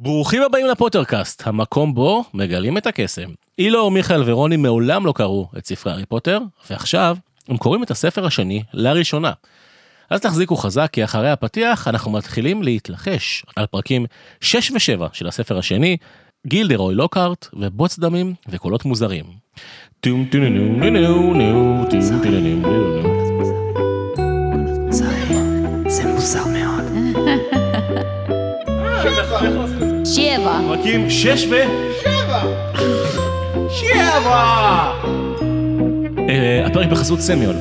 ברוכים הבאים לפוטרקאסט, המקום בו מגלים את הקסם. אילור, מיכאל ורוני מעולם לא קראו את ספרי הארי פוטר, ועכשיו הם קוראים את הספר השני לראשונה. אז תחזיקו חזק, כי אחרי הפתיח אנחנו מתחילים להתלחש על פרקים 6 ו-7 של הספר השני, גילדרוי לוקהרט ובוץ דמים וקולות מוזרים. טום טום טום טום טום טום טום טום טום טום. זה מוזר מאוד. שבע. פרקים 6 ו... 7! 7! אה, הפרק בחסות סמיול.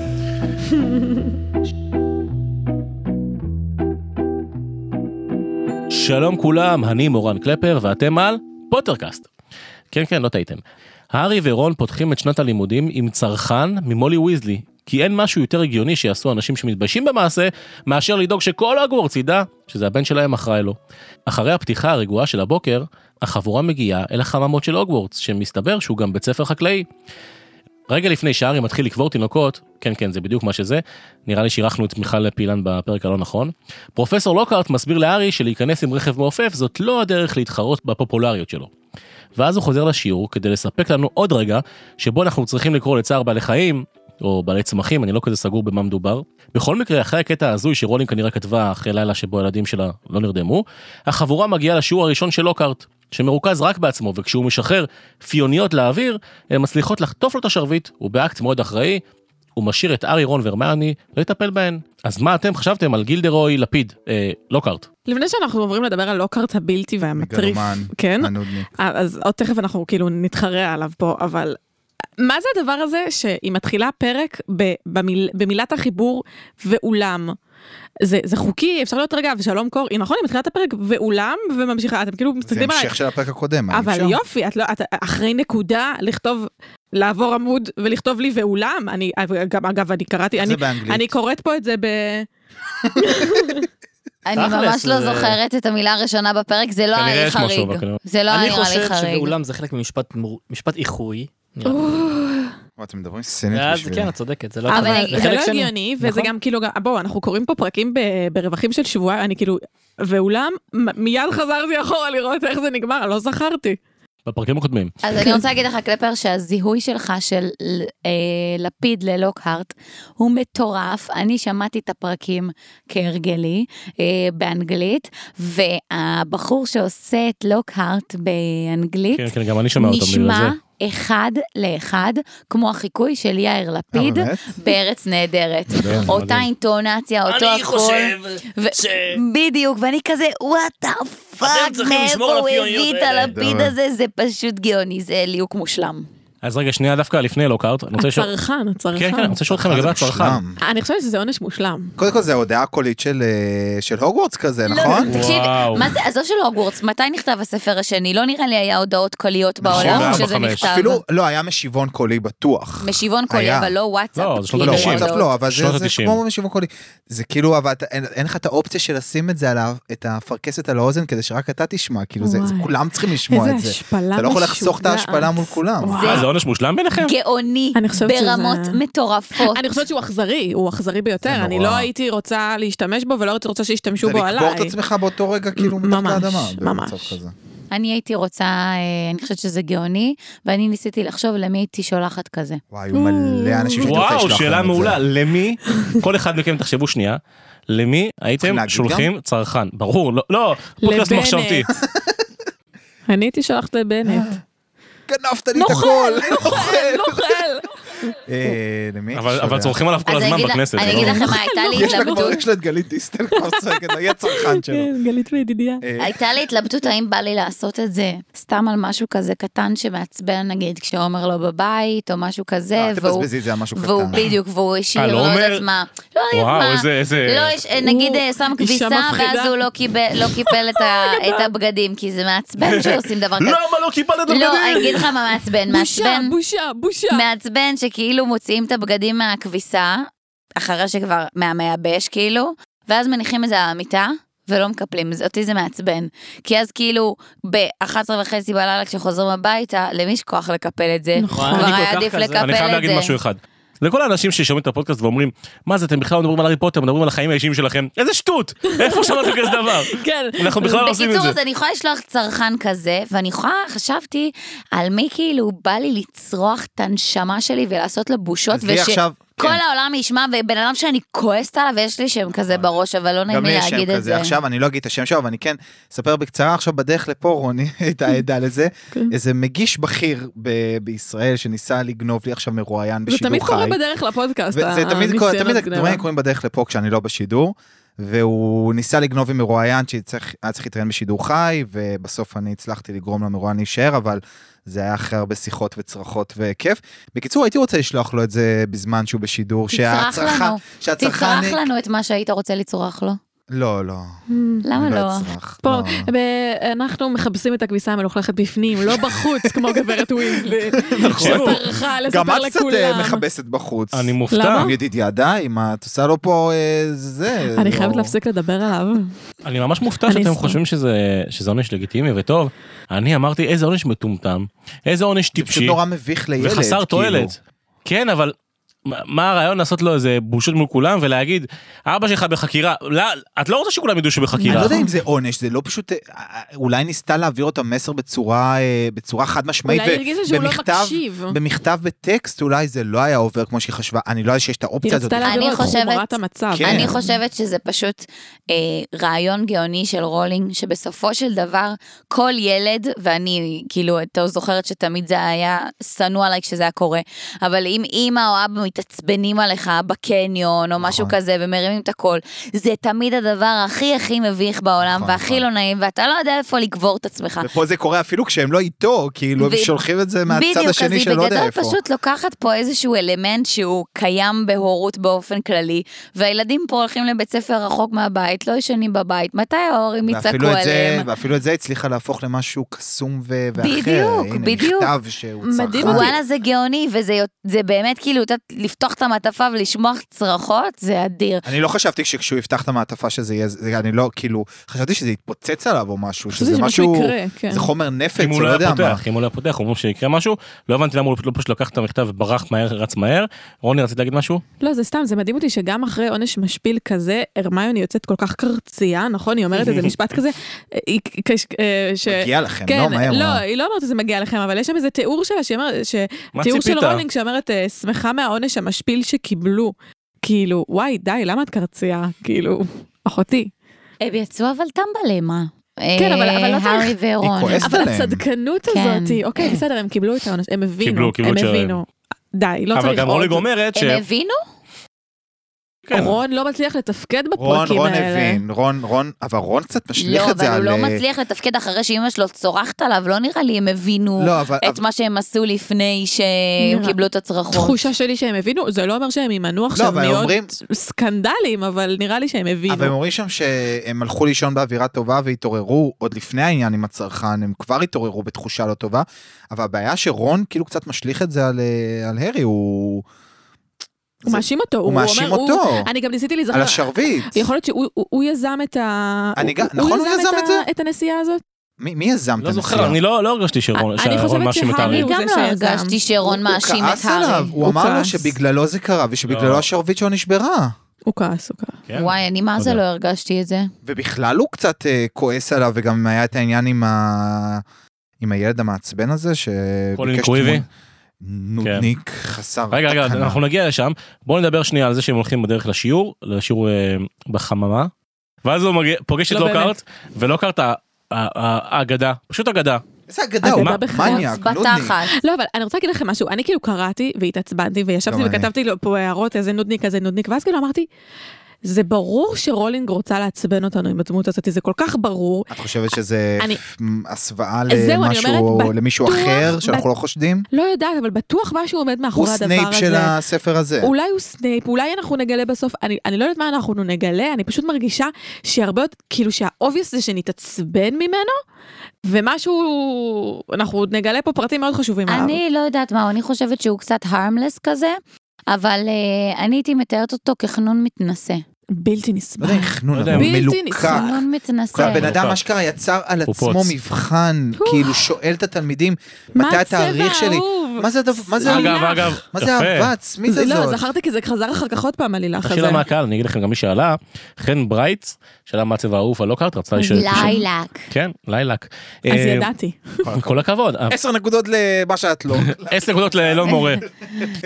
שלום כולם, אני מורן קלפר ואתם על פוטרקאסט. כן כן, לא טעיתם. הארי ורון פותחים את שנת הלימודים עם צרכן ממולי ויזלי, כי אין משהו יותר הגיוני שיעשו אנשים שמתביישים במעשה, מאשר לדאוג שכל הגוורץ ידע שזה הבן שלהם אחראי לו. אחרי הפתיחה הרגועה של הבוקר, החבורה מגיעה אל החממות של הוגוורטס, שמסתבר שהוא גם בית ספר חקלאי. רגע לפני שהארי מתחיל לקבור תינוקות, כן כן זה בדיוק מה שזה, נראה לי שאירחנו את מיכל פילן בפרק הלא נכון, פרופסור לוקהרט מסביר להארי שלהיכנס עם רכב מעופף זאת לא הדרך להתחרות בפופולריות שלו. ואז הוא חוזר לשיעור כדי לספק לנו עוד רגע שבו אנחנו צריכים לקרוא לצער בעלי חיים, או בעלי צמחים, אני לא כזה סגור במה מדובר. בכל מקרה, אחרי הקטע ההזוי שרולינג כנראה כתבה אחרי לילה שבו הילדים שלה לא נרדמו, החבורה מגיעה לשיעור הראשון של לוקהרט, שמרוכז רק בעצמו, וכשהוא משחרר פיוניות לאוויר, הן מצליחות לחטוף לו את השרביט, ובאקט מאוד אחראי, הוא משאיר את ארי רון והרמיוני לטפל בהן. אז מה אתם חשבתם על גילדרוי לפיד, אה, לוקהרט? לפני שאנחנו עוברים לדבר על לוקארט הבלתי והמטריף, מגלומן, כן, הנודניק. אז עוד תכף אנחנו כאילו נתחרה עליו פה, אבל מה זה הדבר הזה שהיא מתחילה פרק ב- במיל, במילת החיבור ואולם? זה, זה חוקי, אפשר להיות רגע, ושלום קור, היא נכון, היא מתחילה את הפרק ואולם וממשיכה, אתם כאילו זה מסתכלים עליי, המשך של הפרק הקודם, האם אבל אפשר? יופי, את לא, את אחרי נקודה לכתוב, לעבור עמוד ולכתוב לי ואולם, אני, גם אגב, אני קראתי, איך אני, זה באנגלית? אני קוראת פה את זה ב... אני תכלס, ממש לא זה- זוכרת את המילה הראשונה בפרק, זה לא כנראה היה לי יש משהו, חריג. אבל כנראה- זה לא היה אני נראה לי חושב חריג. שבאולם זה חלק ממשפט מור- משפט איחוי. נראה לי. וואי, אתם מדברים סינית ואז בשבילי. אה, כן, את צודקת, זה לא אבל הגיוני. זה לא חלק שני. הגיוני, וזה נכון. גם כאילו, גם- בואו, אנחנו קוראים פה פרקים ב- ברווחים של שבועיים, אני כאילו, ואולם, מ- מיד חזרתי אחורה לראות איך זה נגמר, לא זכרתי. בפרקים הקודמים. אז אני רוצה להגיד לך, קלפר, שהזיהוי שלך של אה, לפיד ללוקהרט הוא מטורף. אני שמעתי את הפרקים כהרגלי אה, באנגלית, והבחור שעושה את לוקהרט באנגלית, כן, כן, גם אני שומע אותם בגלל זה. נשמע אחד לאחד כמו החיקוי של יאיר אה, לפיד באמת? בארץ נהדרת. אותה אינטונציה, אותו הכול. אני חושב ו- ש- בדיוק, ואני כזה, וואט דה אתם פאק, צריכים מאיפה לשמור על הוא הפיוניות הביא את האלה." הלפיד דבר. הזה, זה פשוט גאוני, זה ליהוק מושלם. אז רגע, שנייה דווקא לפני לוקהרט, אני רוצה לשאול... הצרכן, כן, כן, אני הצרכן. רוצה לשאול אתכם אה, זה לגבי הצרכן. מושלם. אני חושבת שזה עונש מושלם. קודם כל זה הודעה קולית של, אה, של הוגוורטס כזה, לא, נכון? לא, תקשיב, וואו. מה זה, עזוב של הוגוורטס, מתי נכתב הספר השני? לא נראה לי היה הודעות קוליות נכון, בעולם ארבע, כשזה חמש. נכתב. אפילו, לא, היה משיבון קולי בטוח. משיבון קולי, היה. אבל לא וואטסאפ. לא, זה שנות לא, כאילו, ה-תשעים. וואטסאפ הודעות. לא, אבל שנות זה, זה ה-תשעים. כמו משיבון קולי. זה כאילו, אבל אתה, אין, אין לך את האופציה של לשים את זה עליו, את הפרכסת על האוזן, כדי שרק אתה תשמע, כאילו זה, זה וואי. כולם צריכים לשמוע את איזה זה. השפלה אתה לא יכול לחסוך את משוגעת. ההשפלה מול כולם. וואו. אה, זה עונש מושלם ביניכם? כן. גאוני, אני חושבת שזה- ברמות מטורפות. אני חושבת שהוא אכזרי, הוא אכזרי ביותר, זה אני נורא. לא הייתי רוצה להשתמש בו ולא הייתי רוצה שישתמשו זה בו עליי. לקבור את עצמך באותו רגע, כאילו, מתחת ממש, לאדמה. ממש. במצב כזה. אני הייתי רוצה, אה, אני חושבת שזה גאוני, ואני ניסיתי לחשוב למי הייתי שולחת כזה. וואי, היו מלא אנשים שהייתי רוצה וואו, לשלוח להם שאלה את זה. מעולה. למי, כל אחד מכם תחשבו שנייה, למי הייתם צריכים להגיד שולחים צרכן? ברור, לא, לא, פודקאסט לבנט. מחשבתי. אני הייתי שולחת אה. לבנט. לא, גנבת לי את נוכל, הכל. נוכל, נוכל. אה, למי הייתי אבל אבל שולח? צורכים עליו כל אז אני הזמן אגיד לה- בכנסת. אני זה לא- אגיד לכם מה, הייתה לי יש לה כבר, התלבטות. יש לה את גלית דיסטל כבר צועקת, היא הצרכן שלו. כן, גלית וידידיה. אה, הייתה לי התלבטות האם בא לי לעשות את זה סתם על משהו כזה קטן שמעצבן נגיד כשעומר לא בבית או משהו כזה אה, והוא תבזבזי את זה על משהו והוא קטן. בדיוק והוא השאיר לא לא אומר? יודעת מה. לא יודעת וואו, מה. איזה- איזה- לא, יש- נגיד הוא אה, שם אישה כביסה מפחידה. ואז הוא לא קיבל- לא קיבל את ה- את הבגדים כי זה מעצבן שעושים דבר כזה. למה לא קיבלת את לא, אני הבגדים? אגיד לך מה מעצבן, בושה, מעצבן בושה, בושה. מעצבן שכאילו מוציאים את הבגדים מהכביסה, אחרי שכבר מהמייבש כאילו, ואז מניחים את זה על המיטה. ולא מקפלים, זה- אותי זה מעצבן. כי אז כאילו, ב-11 וחצי בלילה כשחוזרים הביתה, למי יש כוח לקפל את זה? נכון. כבר אני כל היה כך עדיף כזה. לקפל את זה. אני חייב להגיד משהו אחד. לכל האנשים ששומעים את הפודקאסט ואומרים, מה זה, אתם בכלל לא מדברים על הארי פוטר, מדברים על החיים האישיים שלכם, איזה שטות! איפה שמעתם כזה דבר? כן. אנחנו בכלל לא עושים את בקיצור, זה. אז אני יכולה לשלוח צרכן כזה, ואני יכולה, חשבתי על מי כאילו בא לי לצרוח את הנשמה שלי ולעשות לה בושות, עזבי עכשיו- כל כן. העולם ישמע, ובן אדם שאני כועסת עליו, ויש לי שם כזה בראש, אבל לא נכון. נעים גם לי לי יש שם להגיד את כזה. זה. עכשיו אני לא אגיד את השם שלו, אבל אני כן אספר בקצרה עכשיו בדרך לפה, רוני, את העדה לזה. כן. איזה מגיש בכיר ב- בישראל שניסה לגנוב לי עכשיו מרואיין זה בשידור חי. תמיד קורה בדרך לפודקאסט, וזה תמיד הניסיונות קורה, תמיד גניבה. הדברים קורים בדרך לפה כשאני לא בשידור. והוא ניסה לגנוב עם מרואיין שהיה צריך להתראיין בשידור חי, ובסוף אני הצלחתי לגרום למרואיין להישאר, אבל זה היה אחרי הרבה שיחות וצרחות וכיף. בקיצור, הייתי רוצה לשלוח לו את זה בזמן שהוא בשידור, תצרח שהצרכן... לנו. שהצרכן... תצרח לנו את מה שהיית רוצה לצרוח לו. לא, לא. למה אני לא? אצרח, פה, לא. ב- אנחנו מכבסים את הכביסה המלוכלכת בפנים, לא בחוץ, כמו גברת וויזלי. נכון. תקשיבו, שטרחה גם לספר את קצת אה, לכולם. מכבסת בחוץ. אני מופתע. למה? ידיד ידיי, מה את עושה לו פה אה, זה? אני לא. חייבת להפסיק לדבר עליו. אני ממש מופתע אני שאתם אשמח. חושבים שזה שזה עונש לגיטימי וטוב. אני אמרתי, איזה עונש מטומטם, איזה עונש זה פשוט טיפשי, נורא מביך לילד. וחסר כאילו. תועלת. כן, אבל... מה- מה הרעיון לעשות לו איזה בושות מול כולם ולהגיד אבא שלך בחקירה לא את לא רוצה שכולם ידעו שהוא אני בחקירה לא יודע אם זה עונש, זה לא פשוט, אה, אה, אולי ניסתה להעביר אותה מסר בצורה, אה, בצורה חד משמעית. אולי היא ו- הרגישה שהוא לא במכתב- מקשיב. במכתב בטקסט אולי זה לא היה עובר כמו שהיא חשבה, אני לא יודע שיש את היא האופציה הזאת. רצתה להעביר אני לו את חומרת חושבת- המצב. כן. אני חושבת שזה פשוט אה, רעיון גאוני של רולינג, שבסופו של דבר כל ילד, ואני כאילו, אתה זוכרת שתמיד זה היה שנוא עליי כשזה היה קורה, אבל אם אימא או אבא מתעצבנים עליך בקניון או משהו נכון. כזה ומרימים את הכל, זה תמיד הדבר הכי הכי מביך בעולם נכון, והכי נכון. לא נעים, ואתה לא יודע איפה לקבור את עצמך. ופה זה קורה אפילו כשהם לא איתו, כאילו הם ו- שולחים את זה מהצד השני בדיוק, שלא אז יודע היא איפה. בגדול פשוט לוקחת פה איזשהו אלמנט שהוא קיים בהורות באופן כללי, והילדים פה הולכים לבית ספר רחוק מהבית, לא ישנים בבית, מתי ההורים יצעקו ואפילו את, זה, עליהם? ואפילו את זה הצליחה להפוך למשהו קסום ו- ואחר. בדיוק, הנה, בדיוק. מכתב שהוא צרחן. מדהים אותי. וואלה זה גאוני, וזה יו- זה באמת כאילו, את יודעת, לפתוח את המעטפה ולשמוע צרחות, זה אדיר. אני לא חשבתי שכשהוא יפתח את המעטפה שזה יהיה, זה- אני לא, כאילו, חשבתי שזה יתפוצץ עליו או משהו, חשבתי שזה שמשהו משהו, יקרה, כן. זה חומר נפץ, אם הוא זה לא לא היה יודע מה. פותח, אם הוא לא היה פותח, אומרים שיקרה משהו, לא הבנתי למה הוא לא פשוט לקח את המכתב וברח מהר, רץ מהר. רוני, רצית להגיד משהו? לא, זה סתם, זה מדהים אותי שגם אחרי עונש משפיל כזה, הרמיוני יוצאת כל כך קרצייה, נכון? היא אומרת איזה משפט כזה. היא- כש- אה, ש- מגיע לכם, לא כן, מהר. לא, מה? היא לא אומרת שזה מגיע לכם, אבל יש שם איזה תיאור שלה, שהיא אומרת, ש- מה תיאור של ציפית? רולינג שאומרת, אה, שמחה מהעונש המשפיל שקיבלו. כאילו, וואי, די, למה את קרצייה? כאילו, אחותי. הם יצאו אבל טמבלה, מה? כן, אבל- אבל לא צריך- הארי היא אה, ורון. כועסת. אבל עליהם. הצדקנות כן. הזאת, אוקיי, בסדר, הם קיבלו את העונש, הם קיבלו, הבינו, קיבלו הם את שלהם. הבינו. די, לא אבל צריך גם עוד. רוני אומרת ש... הם הבינו? כן. רון לא מצליח לתפקד רון, בפרקים רון האלה. הבין, רון, רון, אבל רון קצת משליך לא, את זה אבל הוא על... לא אה, מצליח לתפקד אחרי שאימא שלו צורחת עליו, לא נראה לי הם הבינו. לא, אבל... את מה שהם עשו לפני שהם נראה. קיבלו את הצרחות. תחושה שלי שהם הבינו, זה לא אומר שהם יימנעו עכשיו אבל הם מעוד אומרים- סקנדלים, אבל נראה לי שהם אבל הם הבינו. אומרים שם שהם הלכו לישון באווירה טובה והתעוררו עוד לפני העניין עם הצרכן, הם כבר התעוררו בתחושה לא טובה, אבל הבעיה שרון כאילו קצת משליך את זה על, אה, על הרי, הוא... הוא זה- מאשים אותו, הוא הוא מאשים אומר, הוא- אותו, אני גם ניסיתי על להיזכר, השרביט. יכול להיות שהוא הוא- הוא יזם את ה... אני גם- הוא נכון, הוא יזם את זה? ה- את הנסיעה הזאת? מי מי יזם את לא זוכר, הנסיעה? אני לא לא הרגשתי שרון אני שהרון חושבת מאשים את הארי. שהארי אני הוא גם זה לא שיזם. הרגשתי שרון הוא מאשים את כעס עליו, הארי. הוא הוא אמר לו כעס. שבגללו זה קרה ושבגללו לא. השרביט שלו נשברה. הוא כעס, הוא כעס. כן. וואי, אני מה זה תודה. לא הרגשתי את זה. ובכלל הוא קצת אה, כועס עליו וגם היה את העניין עם ה... עם הילד המעצבן הזה קולין שביקש קוויבי. כן. נודניק חסר רגע, רגע, תקנה. אנחנו לא- נגיע לשם. בואו נדבר שנייה על זה שהם הולכים בדרך לשיעור, לשיעור אה, בחממה. ואז הוא מגיע- פוגש את לא באמת. לוקארט, ולוקארט ה- ה- ה- אה, האגדה, פשוט אגדה. איזה אגדה, אגדה הוא בחרץ, מניאק, נודניק. בתחת. לא, אבל אני רוצה להגיד לכם משהו, אני כאילו קראתי והתעצבנתי וישבתי גם אני. וכתבתי לו פה הערות, איזה נודניק, איזה נודניק, ואז כאילו אמרתי, זה ברור שרולינג רוצה לעצבן אותנו עם הדמות הזאת, זה כל כך ברור. את חושבת שזה אני- אה, מ- הסוואה זהו, אני למשהו, אומרת, למישהו בטוח- אחר שאנחנו לא חושדים? לא יודעת, אבל בטוח משהו עומד הוא מאחורי הדבר הזה. סנייפ של הספר הזה. אולי הוא סנייפ, אולי אנחנו נגלה בסוף, אני, אני לא יודעת מה אנחנו נגלה, אני פשוט מרגישה שהרבה יותר, כאילו שהאובייס זה שנתעצבן ממנו, ומשהו, אנחנו עוד נגלה פה פרטים מאוד חשובים עליו. אני לא יודעת מה, אני חושבת שהוא קצת הרמלס כזה, אבל אה, אני הייתי מתארת אותו כחנון מתנשא. בלתי לא נסבל. יודע, חנון, לא יודע, אבל בלתי מלוקק. נסבל. כן. חנון מתנשא. הבן אדם מלוקק. אשכרה יצר על הוא עצמו פוץ. מבחן, כאילו שואל את התלמידים, מתי התאריך שלי? מה זה הדבר, מה זה אגב, אגב, מה זה אהבה יפה. עצמית לא, הזאת? זכרתי כי זה חזר אחר כך עוד פעם, הלילך הזה. השאלה מהקהל, אני אגיד לכם גם מי שאלה, חן ברייטס, שאלה מה הצבע האהוב על לוקארט, רצתה לשאול. לילק. כן, לילק. אז אה, ידעתי. כל הכבוד, אה, עשר נקודות למה שאת לא, עשר נקודות לאלון מורה.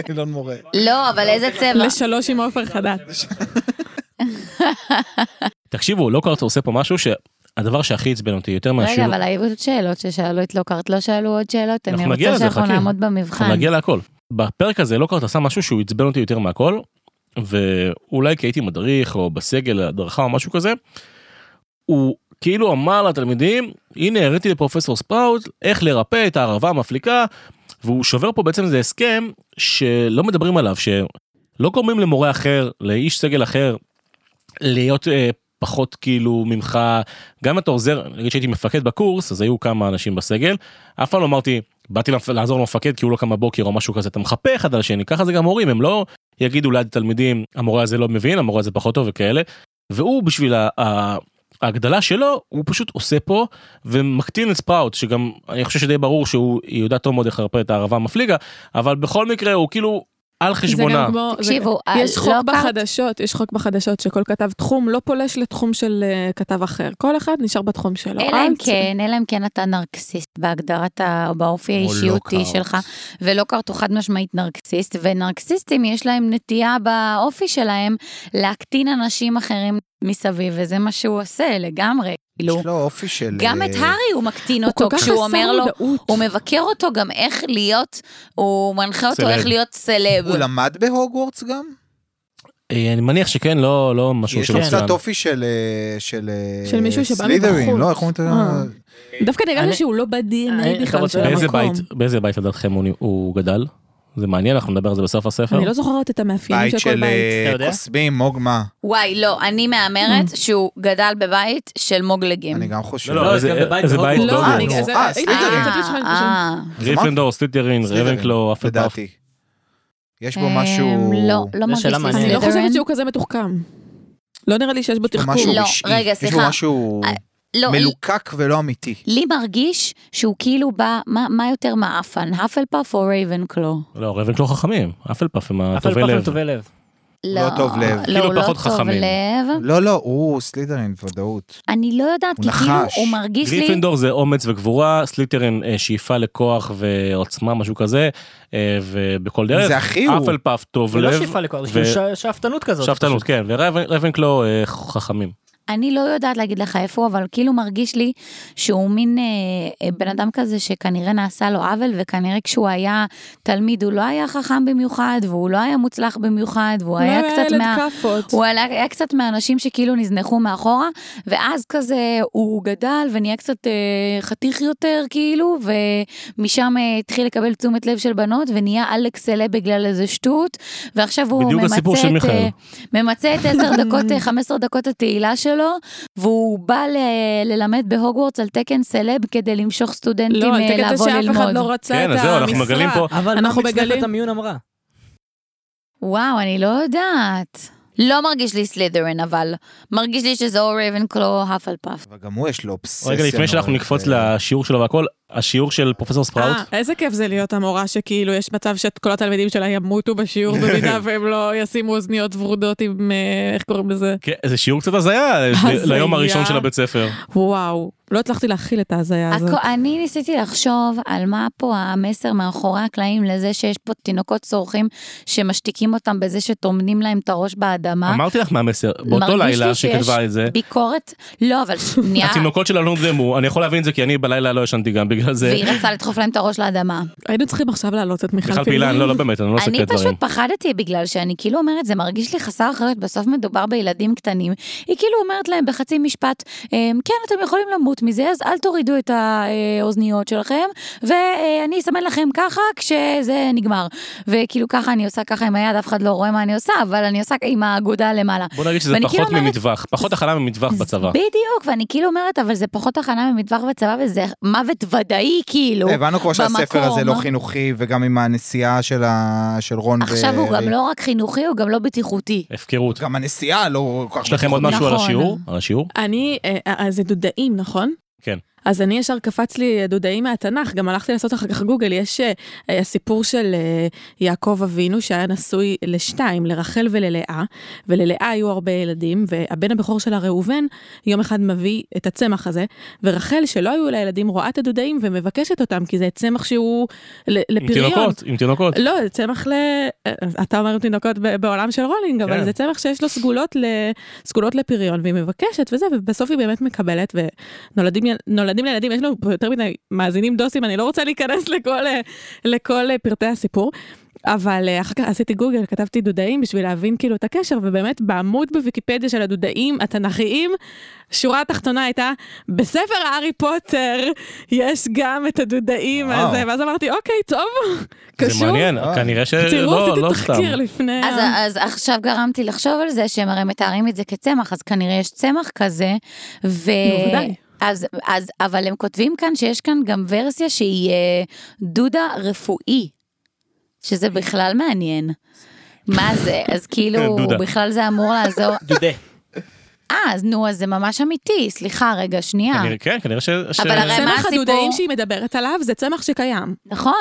אילון מורה. לא, אבל איזה צבע. לשלוש עם עופר חדד. תקשיבו, לוקארט עושה פה משהו שהדבר שהכי עצבן אותי יותר רגע, מהשיעור, אבל היו עוד שאלות ששאלו את לוקארט, לא שאלו עוד שאלות, אני אנחנו נגיע רוצה לזה, שאנחנו חכי. נעמוד אנחנו במבחן. נגיע להכל. בפרק הזה לא לוקארט עשה משהו שהוא עצבן אותי יותר מהכל, ואולי כי הייתי מדריך או בסגל הדרכה או משהו כזה, הוא כאילו אמר לתלמידים, הנה הראיתי לפרופסור ספראוט איך לרפא את הערבה המפליקה, והוא שובר פה בעצם איזה הסכם שלא מדברים עליו, שלא גורמים למורה אחר, לאיש סגל אחר, להיות אה, פחות כאילו ממך, גם אם אתה עוזר, נגיד שהייתי מפקד בקורס, אז היו כמה אנשים בסגל, אף פעם לא אמרתי, באתי למפ- לעזור למפקד כי הוא לא קם בבוקר או משהו כזה, אתה מחפה אחד על השני, ככה זה גם הורים, הם לא יגידו ליד התלמידים, המורה הזה לא מבין, המורה הזה פחות טוב וכאלה, והוא בשביל ה... ה- ההגדלה שלו, הוא פשוט עושה פה ומקטין את ספראוט, שגם אני חושב שדי ברור שהוא יודע טוב מאוד איך לרפא את הערבה המפליגה, אבל בכל מקרה הוא כאילו על זה חשבונה. גם כמו... זה- תקשיבו, אה, יש אה, חוק הלוקארט- בחדשות, יש חוק בחדשות שכל כתב תחום לא פולש לתחום של אה, כתב אחר. כל אחד נשאר בתחום שלו. לא, אלא אל אם ת- כן, אלא אם כן אתה נרקסיסט בהגדרת, ה- או באופי או לא האישיותי לוקהרט. שלך, ולוקארט הוא חד משמעית נרקסיסט, ונרקסיסטים יש להם נטייה באופי שלהם להקטין אנשים אחרים מסביב, וזה מה שהוא עושה לגמרי, יש כאילו. לו אופי של... גם אה, את הארי הוא מקטין הוא כל אותו, כך כשהוא אומר חסר לו, מודעות. הוא מבקר אותו גם איך להיות, הוא מנחה אותו סלב. איך להיות סלב. הוא למד בהוגוורטס גם? אה, אני מניח שכן, לא, לא משהו יש לו שלא קצת צוין. אופי של... אה, של אה, של מישהו שבא סלית'רין, מבחוץ. לא, איך אומרים את אה. ה... דווקא נראה אני- לי שהוא לא ב-DNA אני- בכלל אתה של רוצה- המקום. באיזה בית, באיזה בית לדעתכם הוא, הוא גדל? זה מעניין, אנחנו נדבר על זה בסוף הספר. אני לא זוכרת את המאפיינים בית של כל של בית. אה, אתה יודע? קוסמים, מוגמה. וואי, לא, אני מהמרת שהוא גדל בבית של מוגלגים. אני גם חושב. לא, לא, איזה- גם בבית איזה בית בהוגוורטס. דוגו. לא, אני... נו, זה- אה, הנה, סלית'רין. רציתי לשאול- לשאול. אה, גריפינדור, סטליטרין, סלית'רין, רבנקלו, אף אחד. לדעתי. יש בו משהו... אמ, לא, לא זו מרגיש שאלה לי מעניינת. אני לא סלית'רין. חושבת שהוא כזה מתוחכם. לא נראה לי שיש בו יש בו תחכום. משהו לא, רגשי. רגע, יש סליחה. בו משהו לא, מלוקק ולא אמיתי. לי מרגיש שהוא כאילו בא, מה מה יותר מאפן, האפל פאף או רייבנקלו? לא, רבנקלו חכמים, אפל פאף הם אבל הטובי פחות לב. טובי לב. לא טוב לב. כאילו לא, לא פחות טוב חכמים. לב. לא, לא, הוא סלידרין, ודאות. אני לא יודעת, הוא כי כאילו נחש. הוא מרגיש לי... גריפינדור זה אומץ וגבורה, סליטרין אה, שאיפה לכוח ועוצמה, משהו כזה, אה, ובכל דרך. זה הכי הוא. אפל פאף טוב זה לא לב. שאיפה לכוח, ו- זה ש- שאפתנות כזאת. שאפתנות, פשוט. כן, ורבנקלו אה, חכמים. אני לא יודעת להגיד לך איפה הוא, אבל כאילו מרגיש לי שהוא מין אה, אה, בן אדם כזה שכנראה נעשה לו עוול, וכנראה כשהוא היה תלמיד הוא לא היה חכם במיוחד, והוא לא היה מוצלח במיוחד, והוא לא, היה הוא קצת ילד מה... כאפות. הוא היה, היה קצת מהאנשים שכאילו נזנחו מאחורה, ואז כזה הוא גדל ונהיה קצת אה, חתיך יותר כאילו, ומשם אה, התחיל לקבל תשומת לב של בנות ונהיה אלכס סלב בגלל איזה שטות, ועכשיו הוא בדיוק ממצה הסיפור של את, מיכאל. אה, ממצה את 10 דקות, אה, 15 דקות התהילה שלו, והוא בא ל- ללמד בהוגוורטס על תקן סלב כדי למשוך סטודנטים לא, אה, על תקן זה לבוא שאף אחד ללמוד. לא רצה את כן, אז זהו, אנחנו מגלים המשרה. פה. אבל מה אנחנו מצטרפת מגלים- המיון אמרה? וואו, אני לא יודעת. לא מרגיש לי סלית'רין, אבל מרגיש לי שזה או רייבנקלו או האפלפאף. אבל גם הוא יש לו אובססיה. אה, רגע, לפני שאנחנו נורא. נקפוץ לשיעור שלו והכל, השיעור של פרופסור ספראוט, אה, איזה כיף זה להיות המורה שכאילו יש מצב שכל התלמידים שלה ימותו בשיעור במידה והם לא ישימו אוזניות ורודות עם, אה, איך קוראים לזה? כן, זה שיעור קצת הזיה ל- הזיה. ליום הראשון של הבית ספר. וואו, לא הצלחתי להכיל את ההזיה הזאת. הכל, אני ניסיתי לחשוב על מה פה המסר מאחורי הקלעים לזה שיש פה תינוקות צורכים שמשתיקים אותם בזה שטומנים להם את הראש באדמה. אמרתי לך מה המסר, באותו אה? מרגיש לי לילה שיש שכתבה את זה, ביקורת, לא, אבל שנייה, התינוקות שלה לא נרדמו, אני יכול להבין את זה כי אני בלילה לא ישנתי גם בגלל זה. והיא רצה לדחוף להם את הראש לאדמה. היינו צריכים עכשיו להעלות את מיכל מיכל פעילן, לא, לא באמת, אני לא עושה אני כאלה דברים. פשוט פחדתי בגלל שאני כאילו אומרת, זה מרגיש לי חסר אחריות, בסוף מדובר בילדים קטנים. היא כאילו אומרת להם בחצי משפט, "אמ, כן, אתם יכולים למות מזה, אז אל תורידו את האוזניות שלכם, ואני אסמן לכם ככה כשזה נגמר. וכאילו ככה אני עושה ככה עם היד, אף אחד לא רואה מה אני עושה, אבל אני עושה עם האגודה למעלה. בוא נגיד שזה ואני כאילו פחות אומרת- ממטווח, פחות הכנה ממטווח בצבא. בדיוק, ואני כאילו אומרת, אבל זה פחות הכנה ממטווח בצבא, וזה מוות ודאי. מדעי, כאילו. אה, הבנו כבר שהספר הזה לא במקום. חינוכי, וגם עם הנסיעה של ה- של רון ו... עכשיו הוא גם לא רק חינוכי, הוא גם לא בטיחותי. הפקרות. גם הנסיעה לא כל כך... יש לכם עוד משהו על נכון. השיעור? על השיעור? אני, אה, אה, זה דודאים, נכון? כן. אז אני ישר קפץ לי אה, דודאים מהתנ"ך, גם הלכתי לעשות אחר כך גוגל, יש אה, הסיפור של אה, יעקב אבינו שהיה נשוי לשתיים, לרחל וללאה, וללאה היו הרבה ילדים, והבן הבכור שלה ראובן יום אחד מביא את הצמח הזה, ורחל שלא היו לה ילדים רואה את הדודאים ומבקשת אותם, כי זה צמח שהוא ל- עם לפריון. תינוקות, עם תינוקות. לא, זה צמח ל... אתה אומר תינוקות ב- בעולם של רולינג, כן. אבל זה צמח שיש לו סגולות, ל... סגולות לפריון, והיא מבקשת וזה, ובסוף היא באמת מקבלת, ונולדים יל- נולדים לילדים, יש לנו פה יותר מדי מאזינים דוסים, אני לא רוצה להיכנס לכל, אה, לכל אה, פרטי הסיפור. אבל אה, אחר כך עשיתי גוגל, כתבתי דודאים בשביל להבין כאילו את הקשר, ובאמת בעמוד בוויקיפדיה של הדודאים התנ"כיים, שורה התחתונה הייתה, בספר הארי פוטר יש גם את הדודאים וואו. הזה, ואז אמרתי, אוקיי, טוב, זה קשור. מעניין, אה. כנראה תראו, שלא, עשיתי לא סתם. תחקיר לפני... אז, אה, אה. ה- אז עכשיו גרמתי לחשוב על זה שהם הרי מתארים את זה כצמח, אז כנראה יש צמח כזה, ו... בוודאי. אז, אז, אבל הם כותבים כאן שיש כאן גם ורסיה שהיא אה, דודה רפואי, שזה אוקיי. בכלל מעניין. מה זה? אז כאילו, דודה. בכלל זה אמור לעזור. דודה. אה, אז נו, אז זה ממש אמיתי, סליחה, רגע, שנייה. כנראה- כן, כנראה ש... ש- אבל הרי- מה צמח הסיפור? הדודאים שהיא מדברת עליו זה צמח שקיים. נכון,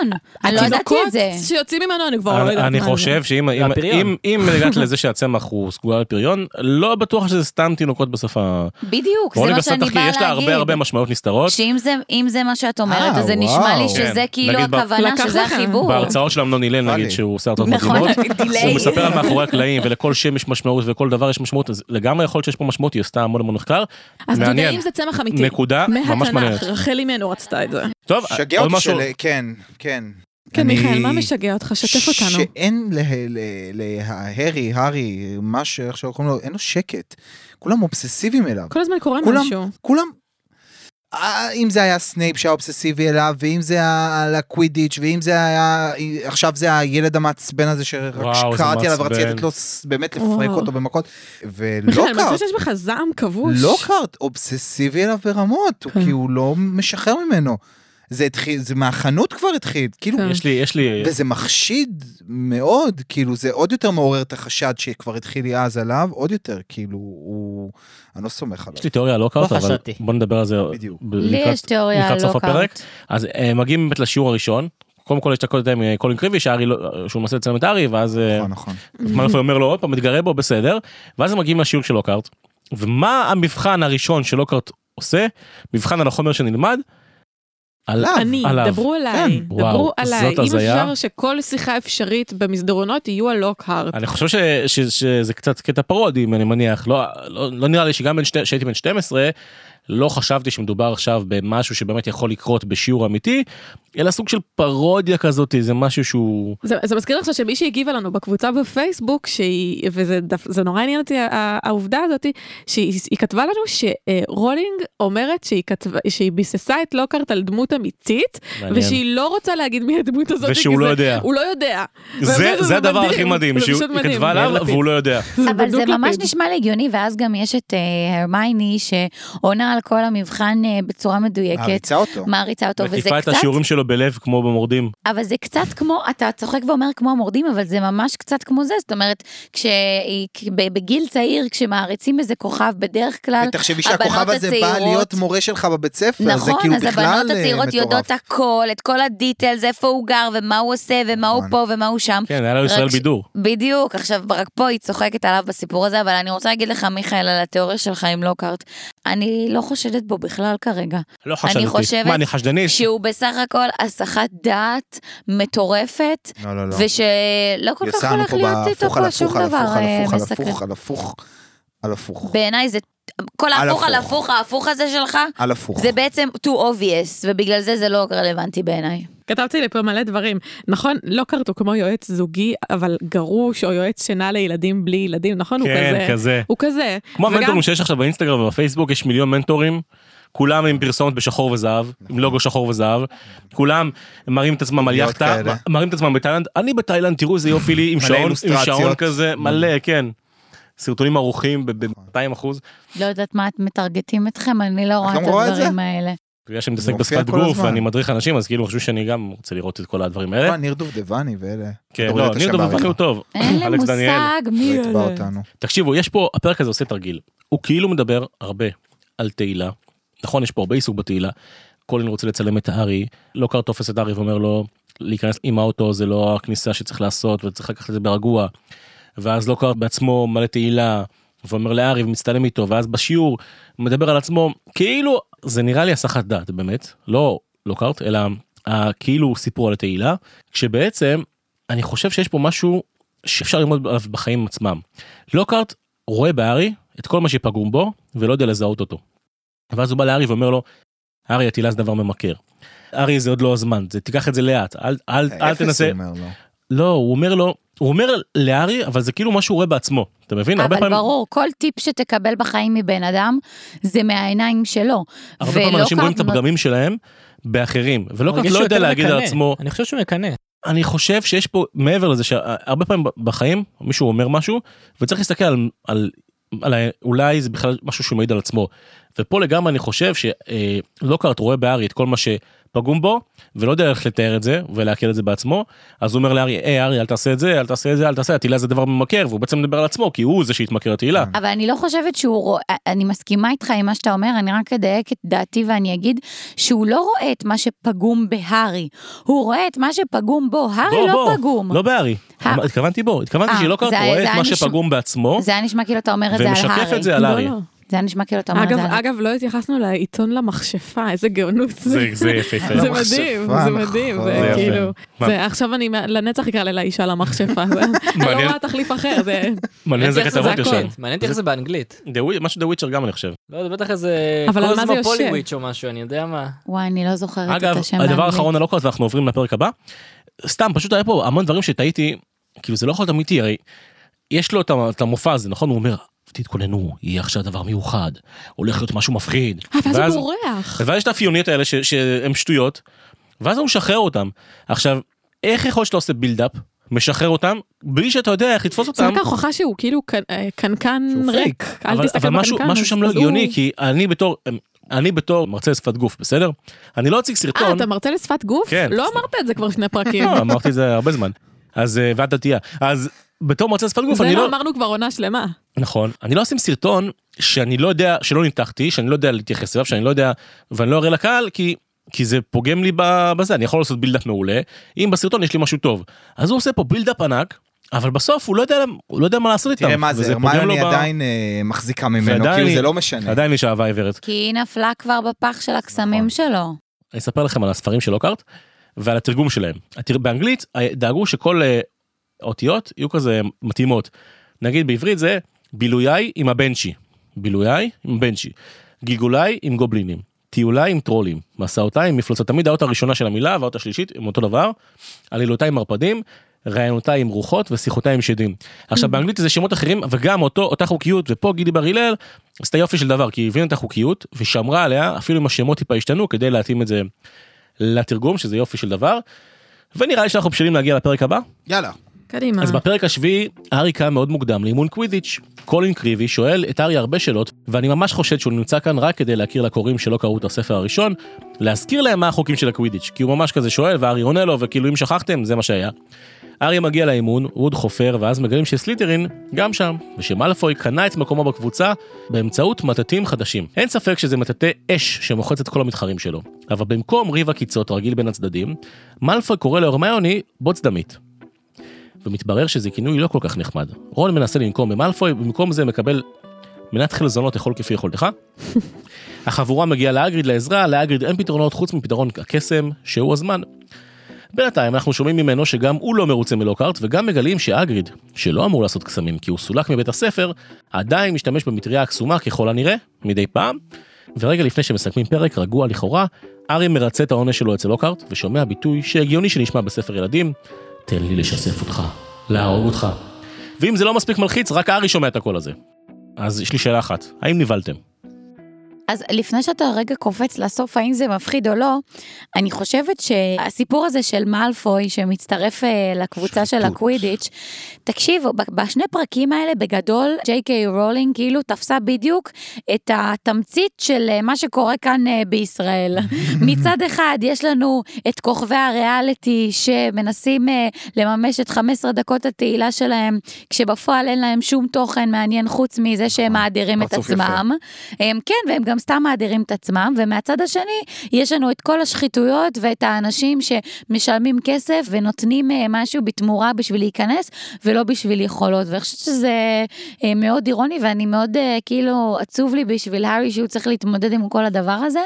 אני לא ידעתי את זה. התינוקות שיוצאים ממנו, אני כבר לא יודעת מה אני זה. חושב שאם אם- הפריון. אם- אם הגעת לזה שהצמח הוא סגולה לפריון, לא בטוח שזה סתם תינוקות בשפה. בדיוק, זה רוני מה בסוף שאני תחקיר, באה יש לה הרבה הרבה להגיד. משמעויות נסתרות. שאם זה- אם זה מה שאת אומרת, אה, אז זה נשמע וואו. לי כן, שזה כאילו נגיד ב- הכוונה, לקח שזה לכם. החיבור. בהרצאות של אמנון הלל נגיד פאני. שהוא עושה הרצאות נכון, מדהימות, delay. הוא מספר על מאחורי הקלעים ולכל שם יש משמעות ולכל דבר יש משמעות, אז לגמרי יכול להיות שיש פה משמעות, היא עשתה המון המון מחקר, אז מעניין, דודאים זה צמח אמיתי. נקודה ממש מעניינת. מהתנ"ך, רחל אימנו רצתה את זה. טוב, נכון. שגע עוד אותי משהו, של... כן, כן. כן, אני- מיכאל, מה משגע אותך? שתף אותנו. שאין לה- לה- להארי, הארי, מה שאיך שקוראים לו, אין לו שקט. כולם אובססיביים אליו. כל הזמן קורה כולם- לא משהו. כולם... אה, אם זה היה סנייפ שהיה אובססיבי אליו, ואם זה היה על הקווידיץ', ואם זה היה... עכשיו זה הילד המעצבן הזה וואו, שרק זה שקראתי עליו ורציתי מעצבן. לתת לו ס- באמת לפרק וואו. אותו במכות. ולא מיכאל, אני קרה. חושבת שיש בך זעם כבוש. לא קארט, אובססיבי אליו ברמות, הוא- כן. כי הוא לא משחרר ממנו. זה התחיל, זה מהחנות כבר התחיל, כאילו, כן. יש לי, יש לי, וזה מחשיד מאוד, כאילו, זה עוד יותר מעורר את החשד שכבר התחיל לי אז עליו, עוד יותר, כאילו, הוא... אני לא סומך עליו. יש לי תיאוריה על לוקאוט, לא אבל חשבתי. בוא נדבר על זה בדיוק. ב- לי לקראת- יש תיאוריה לא לקראת על סוף הפרק. לוקארט. אז אה, מגיעים באמת לשיעור הראשון. קודם כל יש את הקודם עם אה, קולין קריבי שהארי לא- שהוא מנסה לצלם את הארי ואז אה, נכון, נכון. אז מרפי אומר לו עוד פעם מתגרה בו בסדר ואז הם מגיעים לשיעור של לוקארט. ומה המבחן הראשון שלוקארט עושה מבחן על החומר שנלמד. על עליו. אני, עליו. דברו עליי, כן. וואו, דברו עליי. זאת אם הזיה. אפשר שכל שיחה אפשרית במסדרונות יהיו על לוקהארט. אני חושב ש, ש, שזה קצת קטע פרודי אני מניח לא, לא, לא נראה לי שגם בין שתי- כשהייתי בן 12 לא חשבתי שמדובר עכשיו במשהו שבאמת יכול לקרות בשיעור אמיתי אלא סוג של פרודיה כזאת זה משהו שהוא זה, זה מזכיר לך שמישהי הגיבה לנו בקבוצה בפייסבוק, שהיא, וזה דף, זה נורא עניין אותי ה- העובדה הזאת, שהיא היא כתבה לנו שרולינג אומרת שהיא, כתבה, שהיא ביססה את לוקארט על דמות אמיתית, מעניין. ושהיא לא רוצה להגיד מי הדמות הזאת, ושהוא כי לא זה- יודע. הוא לא יודע. זה, באמת, זה הדבר הכי מדהים, זה שהיא פשוט מדהים. כתבה עליו יאיר לפיד. והוא לא יודע. אבל זה בדוק ממש לפיד. נשמע לי הגיוני, ואז גם יש את אה, הרמייני שעונה על כל המבחן אה, בצורה מדויקת. מעריצה אותו. מעריצה אותו, וזה מקיפה את קצת, השיעורים שלו בלב כמו במורדים. אבל זה קצת כמו, אתה צוחק ואומר כמו המורדים, אבל זה ממש קצת כמו זה, זאת אומרת, כשהיא- ב- בגיל צעיר, כשמעריצים איזה כוכב, בדרך כלל, ותחשבי הבנות שהכוכב הזה בא הצעירות- להיות מורה שלך בבית ספר, זה נכון, כאילו אז בכלל הבנות אה, הצעירות יודעות מטורף. הכל, את כל הדיטלס, איפה הוא גר, ומה הוא עושה, ומה הוא נכון. פה, ומה הוא שם. כן, היה לו רק ישראל ש- בידור. בדיוק, עכשיו רק פה היא צוחקת עליו בסיפור הזה, אבל אני רוצה להגיד לך, מיכאל, על התיאוריה שלך עם לוקארט, אני לא חושדת בו בכלל כרגע. לא חשדתי. חושבת מה, אני חשדניש? שהוא בסך הכל הסחת דעת מטורפת, לא, לא, לא. ושלא כל כך יצאנו הולך פה להיות איתו בהפוך על פה שום הפוך, על דבר הפוך, על אה, הפוך, על מסקרן. הפוך, על הפוך, על הפוך, בעיניי זה, כל על ההפוך על הפוך. הפוך, ההפוך הזה שלך, על הפוך. זה בעצם too obvious, ובגלל זה זה לא רלוונטי בעיניי. כתבתי לי פה מלא דברים. נכון, לוקארט הוא כמו יועץ זוגי, אבל גרוש, או יועץ שינה לילדים בלי ילדים, נכון? הוא כן, כזה. כזה. הוא כזה. כמו וגם- המנטורים שיש עכשיו באינסטגרם ובפייסבוק, יש מיליון מנטורים. כולם עם פרסומת בשחור וזהב, עם לוגו שחור וזהב, כולם מראים את עצמם על להיות יאכטה, כאלה. מ- מראים את עצמם בתאילנד, אני בתאילנד, תראו איזה יופי לי, עם מלא שעון, עם שעון אילוסטרציות. Mm. כזה, מלא, כן. סרטונים ערוכים ב-200 אחוז. לא יודעת מה את מטרגטים אתכם, אני לא רואה גם את רואה את זה? הדברים האלה. בגלל שאני מתעסק זה מופיע בשפת כל גוף הזמן. ואני מדריך אנשים, אז כאילו חשבו שאני גם רוצה לראות את כל הדברים האלה. אה, ניר דובדבני ואלה. כן, כדורגלת לא, ניר השם דובדבני בעריכה. הוא טוב. אין לי אלכס דניאל. מושג מי לא יתבע אלה. אותנו. תקשיבו, יש פה, הפרק הזה עושה תרגיל. הוא כאילו מדבר הרבה על תהילה. נכון, יש פה הרבה עיסוק בתהילה. קולין רוצה לצלם את הארי, לוקארט תופס את הארי ואומר לו, להיכנס עם האוטו זה לא הכניסה שצריך לעשות וצריך לקחת את זה ברגוע. ואז לוקארט בעצמו מלא תהילה, ואומר לארי ומצטלם איתו, ואז בשיעור מדבר על עצמו, כאילו, זה נראה לי הסחת דעת באמת, לא לוקארט, אלא ה- כאילו סיפור על התהילה, כשבעצם אני חושב שיש פה משהו שאפשר ללמוד עליו בחיים עצמם. לוקארט רואה בארי את כל מה שפגום בו ולא יודע לזהות אותו. ואז הוא בא לארי ואומר לו, ארי התהילה זה דבר ממכר. ארי זה עוד לא הזמן, זה תיקח את זה לאט, אל, אל, אל אפס, הוא תנסה. אומר לו. לא, הוא אומר לו, הוא אומר לארי, אבל זה כאילו מה שהוא רואה בעצמו, אתה מבין? הרבה אבל פעמים, ברור, כל טיפ שתקבל בחיים מבן אדם, זה מהעיניים שלו. הרבה פעמים אנשים ולא רואים את קרב- הפגמים שלהם באחרים, אבל ולוקארט יש לא שהוא יודע יותר להגיד על מקנא. עצמו, אני חושב שהוא מקנא. אני חושב שיש פה, מעבר לזה שהרבה פעמים בחיים מישהו אומר משהו, וצריך להסתכל על, על, על ה- אולי זה בכלל משהו שהוא מעיד על עצמו. ופה לגמרי אני חושב שלוקארט רואה בארי את כל מה שפגום בו, ולא יודע איך לתאר את זה, ולעכל את זה בעצמו, אז הוא אומר לארי, היי ארי אל תעשה את זה, אל תעשה את זה, אל תעשה, התהילה זה דבר ממכר, והוא בעצם מדבר על עצמו, כי הוא זה שהתמכר כן. לתהילה. אבל אני לא חושבת שהוא רואה, אני מסכימה איתך עם מה שאתה אומר, אני רק אדייק את דעתי ואני אגיד שהוא לא רואה את מה שפגום בהארי, הוא רואה את מה שפגום בו, הארי בוא, לא בוא, פגום. לא בארי, אה. התכוונתי בו, התכוונתי אה, שלוקארט זה- רואה זה את היה מה נשמע- שפגום בעצמו, זה היה נשמע כאילו אתה אומר את זה על הארי. ומשקף את זה על לא, הארי. לא. זה היה נשמע כאילו אתה אומר את אגב, זה על הארי. אגב, לא התייחסנו לעיתון למכשפה, איזה גאונות זה. זה זה יפהפה. זה למכשפה, מדהים, זה מדהים, נכון. זה זה יפה. כאילו, מה? זה עכשיו אני לנצח אקרא לה אישה למכשפה, זה- אני לא מעניין. רואה תחליף אחר, זה מעניין איזה איך זה כתבות יש הכל. שם. כן, מעניין איך זה באנגלית. The Witch- משהו דה וויצ'ר גם אני חושב. לא, זה בטח איזה... אבל על מה זה יושב? קוסמופוליוויץ' או משהו, אני יודע מה. וואי, אני לא זוכרת אגב, את השם הדבר באנגלית. האחרון על אוקראט ואנחנו עוברים לפרק הבא. סתם, פשוט היה פה המון דברים שטעיתי, כאילו זה לא יכול להיות אמיתי, הרי יש לו את ה- את המופע הזה, נכון? הוא אומר, תתכוננו, יהיה עכשיו דבר מיוחד, הולך להיות משהו מפחיד. אה, ואז הוא בורח. ואז יש את האפיוניות האלה ש- שהן שטויות, ואז הוא משחרר אותם. עכשיו, איך יכול להיות שאתה עושה בילדאפ, משחרר אותם, בלי שאתה יודע איך לתפוס זה אותם? רק ההוכחה שהוא כאילו קנ- אה, קנקן שהוא ריק, אל אבל, תסתכל אבל בקנקן. משהו, משהו שם לא אז הוא- הגיוני, כי אני בתור, אני בתור מרצה לשפת גוף, בסדר? אני לא אציג סרטון. אה, אתה מרצה לשפת גוף? כן. לא אמרת את זה כבר שני פרקים. לא, אמרתי את זה הרבה זמן. אז, אה, ואת דתייה. אז בתור מרצה לשפת גוף, זה אני לא לא... אמרנו כבר עונה שלמה. נכון. אני לא אשים סרטון שאני לא יודע, שלא ניתחתי, שאני לא יודע להתייחס אליו, שאני לא יודע, ואני לא אראה לקהל, כי... כי זה פוגם לי ב- בזה, אני יכול לעשות בילדאפ מעולה, אם בסרטון יש לי משהו טוב. אז הוא עושה פה בילדאפ ענק, אבל בסוף הוא לא יודע, הוא לא יודע מה לעשות איתם. תראה מה זה, וזה פוגם לו הרמיוני ב- עדיין אה, מחזיקה ממנו, ועדיין כאילו היא- זה לא משנה. עדיין יש אהבה עיוורת. כי היא נפלה כבר בפח של הקסמים נכון. שלו. אני אספר לכם על הספרים של לוקארט ועל התרגום שלהם. התר- באנגלית אה, דאגו שכל אה, אותיות יהיו כזה מתאימות. נגיד בעברית זה בילויי עם הבנצ'י, בילויי עם בנצ'י, גלגוליי עם גובלינים, טיוליי עם טרולים, מסעותיי עם מפלוצות, תמיד האות הראשונה של המילה והאות השלישית הם אותו דבר, עלילותיי עם ערפדים. ראיינותיי עם רוחות ושיחותיי עם שדים. עכשיו באנגלית זה שמות אחרים וגם אותו, אותה חוקיות ופה גידי בר הלל עשתה יופי של דבר כי היא הבינה את החוקיות ושמרה עליה אפילו אם השמות טיפה השתנו כדי להתאים את זה לתרגום שזה יופי של דבר. ונראה לי שאנחנו בשלים להגיע לפרק הבא. יאללה. קדימה. אז בפרק השביעי, ארי קם מאוד מוקדם לאימון קווידיץ'. קולין קריבי שואל את ארי הרבה שאלות, ואני ממש חושד שהוא נמצא כאן רק כדי להכיר לקוראים שלא קראו את הספר הראשון, להזכיר להם מה החוקים של הקווידיץ', כי הוא ממש כזה שואל, וארי עונה לו, וכאילו אם שכחתם, זה מה שהיה. ארי מגיע לאימון, ווד חופר, ואז מגלים שסליטרין גם שם, ושמאלפוי קנה את מקומו בקבוצה באמצעות מטאטים חדשים. אין ספק שזה מטאטי אש שמוחץ את כל המתחרים שלו. אבל במקום ריב עקיצות רגיל בין הצדדים, מאלפוי קורא להרמיוני בוץ דמית. ומתברר שזה כינוי לא כל כך נחמד. רון מנסה לנקום במאלפוי, במקום זה מקבל מנת חלזונות אכול כפי יכולתך. החבורה מגיעה לאגריד לעזרה, לאגריד אין פתרונות חוץ מפתרון הקסם, שהוא הזמן. בינתיים אנחנו שומעים ממנו שגם הוא לא מרוצה מלוקארט, וגם מגלים שאגריד, שלא אמור לעשות קסמים כי הוא סולק מבית הספר, עדיין משתמש במטריה הקסומה ככל הנראה, מדי פעם. ורגע לפני שמסכמים פרק רגוע לכאורה, ארי מרצה את העונש שלו אצל לוקארט, ושומע ביטוי שהגיוני שנשמע בספר ילדים, תן לי לשסף אותך, להרוג אותך. ואם זה לא מספיק מלחיץ, רק ארי שומע את הקול הזה. אז יש לי שאלה אחת, האם נבהלתם? אז לפני שאתה רגע קופץ לסוף, האם זה מפחיד או לא, אני חושבת שהסיפור הזה של מאלפוי שמצטרף אה, לקבוצה של שחיתות. הקווידיץ', תקשיב, ב- בשני פרקים האלה בגדול, ג'יי קיי רולינג כאילו תפסה בדיוק את התמצית של אה, מה שקורה כאן אה, בישראל. מצד אחד יש לנו את כוכבי הריאליטי שמנסים אה, לממש את 15 דקות התהילה שלהם, כשבפועל אין להם שום תוכן מעניין חוץ מזה שהם מאדירים את פרצוף יפה. עצמם. הם, כן, והם גם סתם מאדירים את עצמם, ומהצד השני יש לנו את כל השחיתויות ואת האנשים שמשלמים כסף ונותנים אה, משהו בתמורה בשביל להיכנס ולא בשביל יכולות, ואני חושבת שזה אה, מאוד אירוני ואני מאוד אה, כאילו עצוב לי בשביל הארי שהוא צריך להתמודד עם כל הדבר הזה.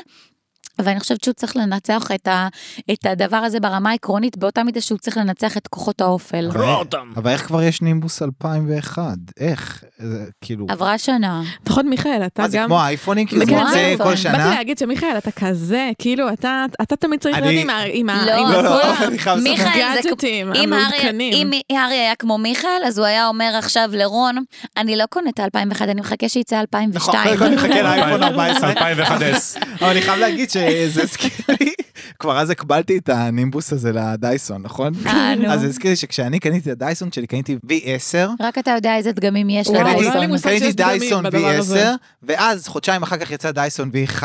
ואני חושבת שהוא צריך לנצח את, ה, את הדבר הזה ברמה העקרונית באותה מידה שהוא צריך לנצח את כוחות האופל. אבל- אוקיי? אבל איך כבר יש נימבוס 2001? איך? זה כאילו... עברה שנה. נכון, מיכאל, אתה מה זה גם... כמו האייפונים? כאילו זה כן, יוצא זה כל באתי באתי שנה? להגיד שמיכאל, אתה כזה, כאילו, אתה אתה תמיד צריך אני- להיות עם ה- עם ה... לא, עם לא, כל לא, אני חייב לספר. מיכאל, זה הגאדג'טים אם הארי, המעודכנים. אם הארי היה כמו מיכאל, אז הוא היה אומר עכשיו לרון, אני לא קונה את ה-2001, אני מחכה שיצא 2002. נכון, קודם כל נחכה לאייפון 14. 2001S. אבל אני חייב להגיד שזה הזכיר לי, כבר אז הקבלתי את הנימבוס הזה לדייסון, נכון? אה, נו. אז זה הזכיר לי שכשאני קניתי את הדייסון שלי, קניתי V10, רק אתה יודע איזה דגמים יש וואו, קניתי- לא היה לי לדייסון. מושג קניתי שיש דגמים דייסון בדבר V10, הזה. ואז חודשיים אחר כך יצא דייסון V11,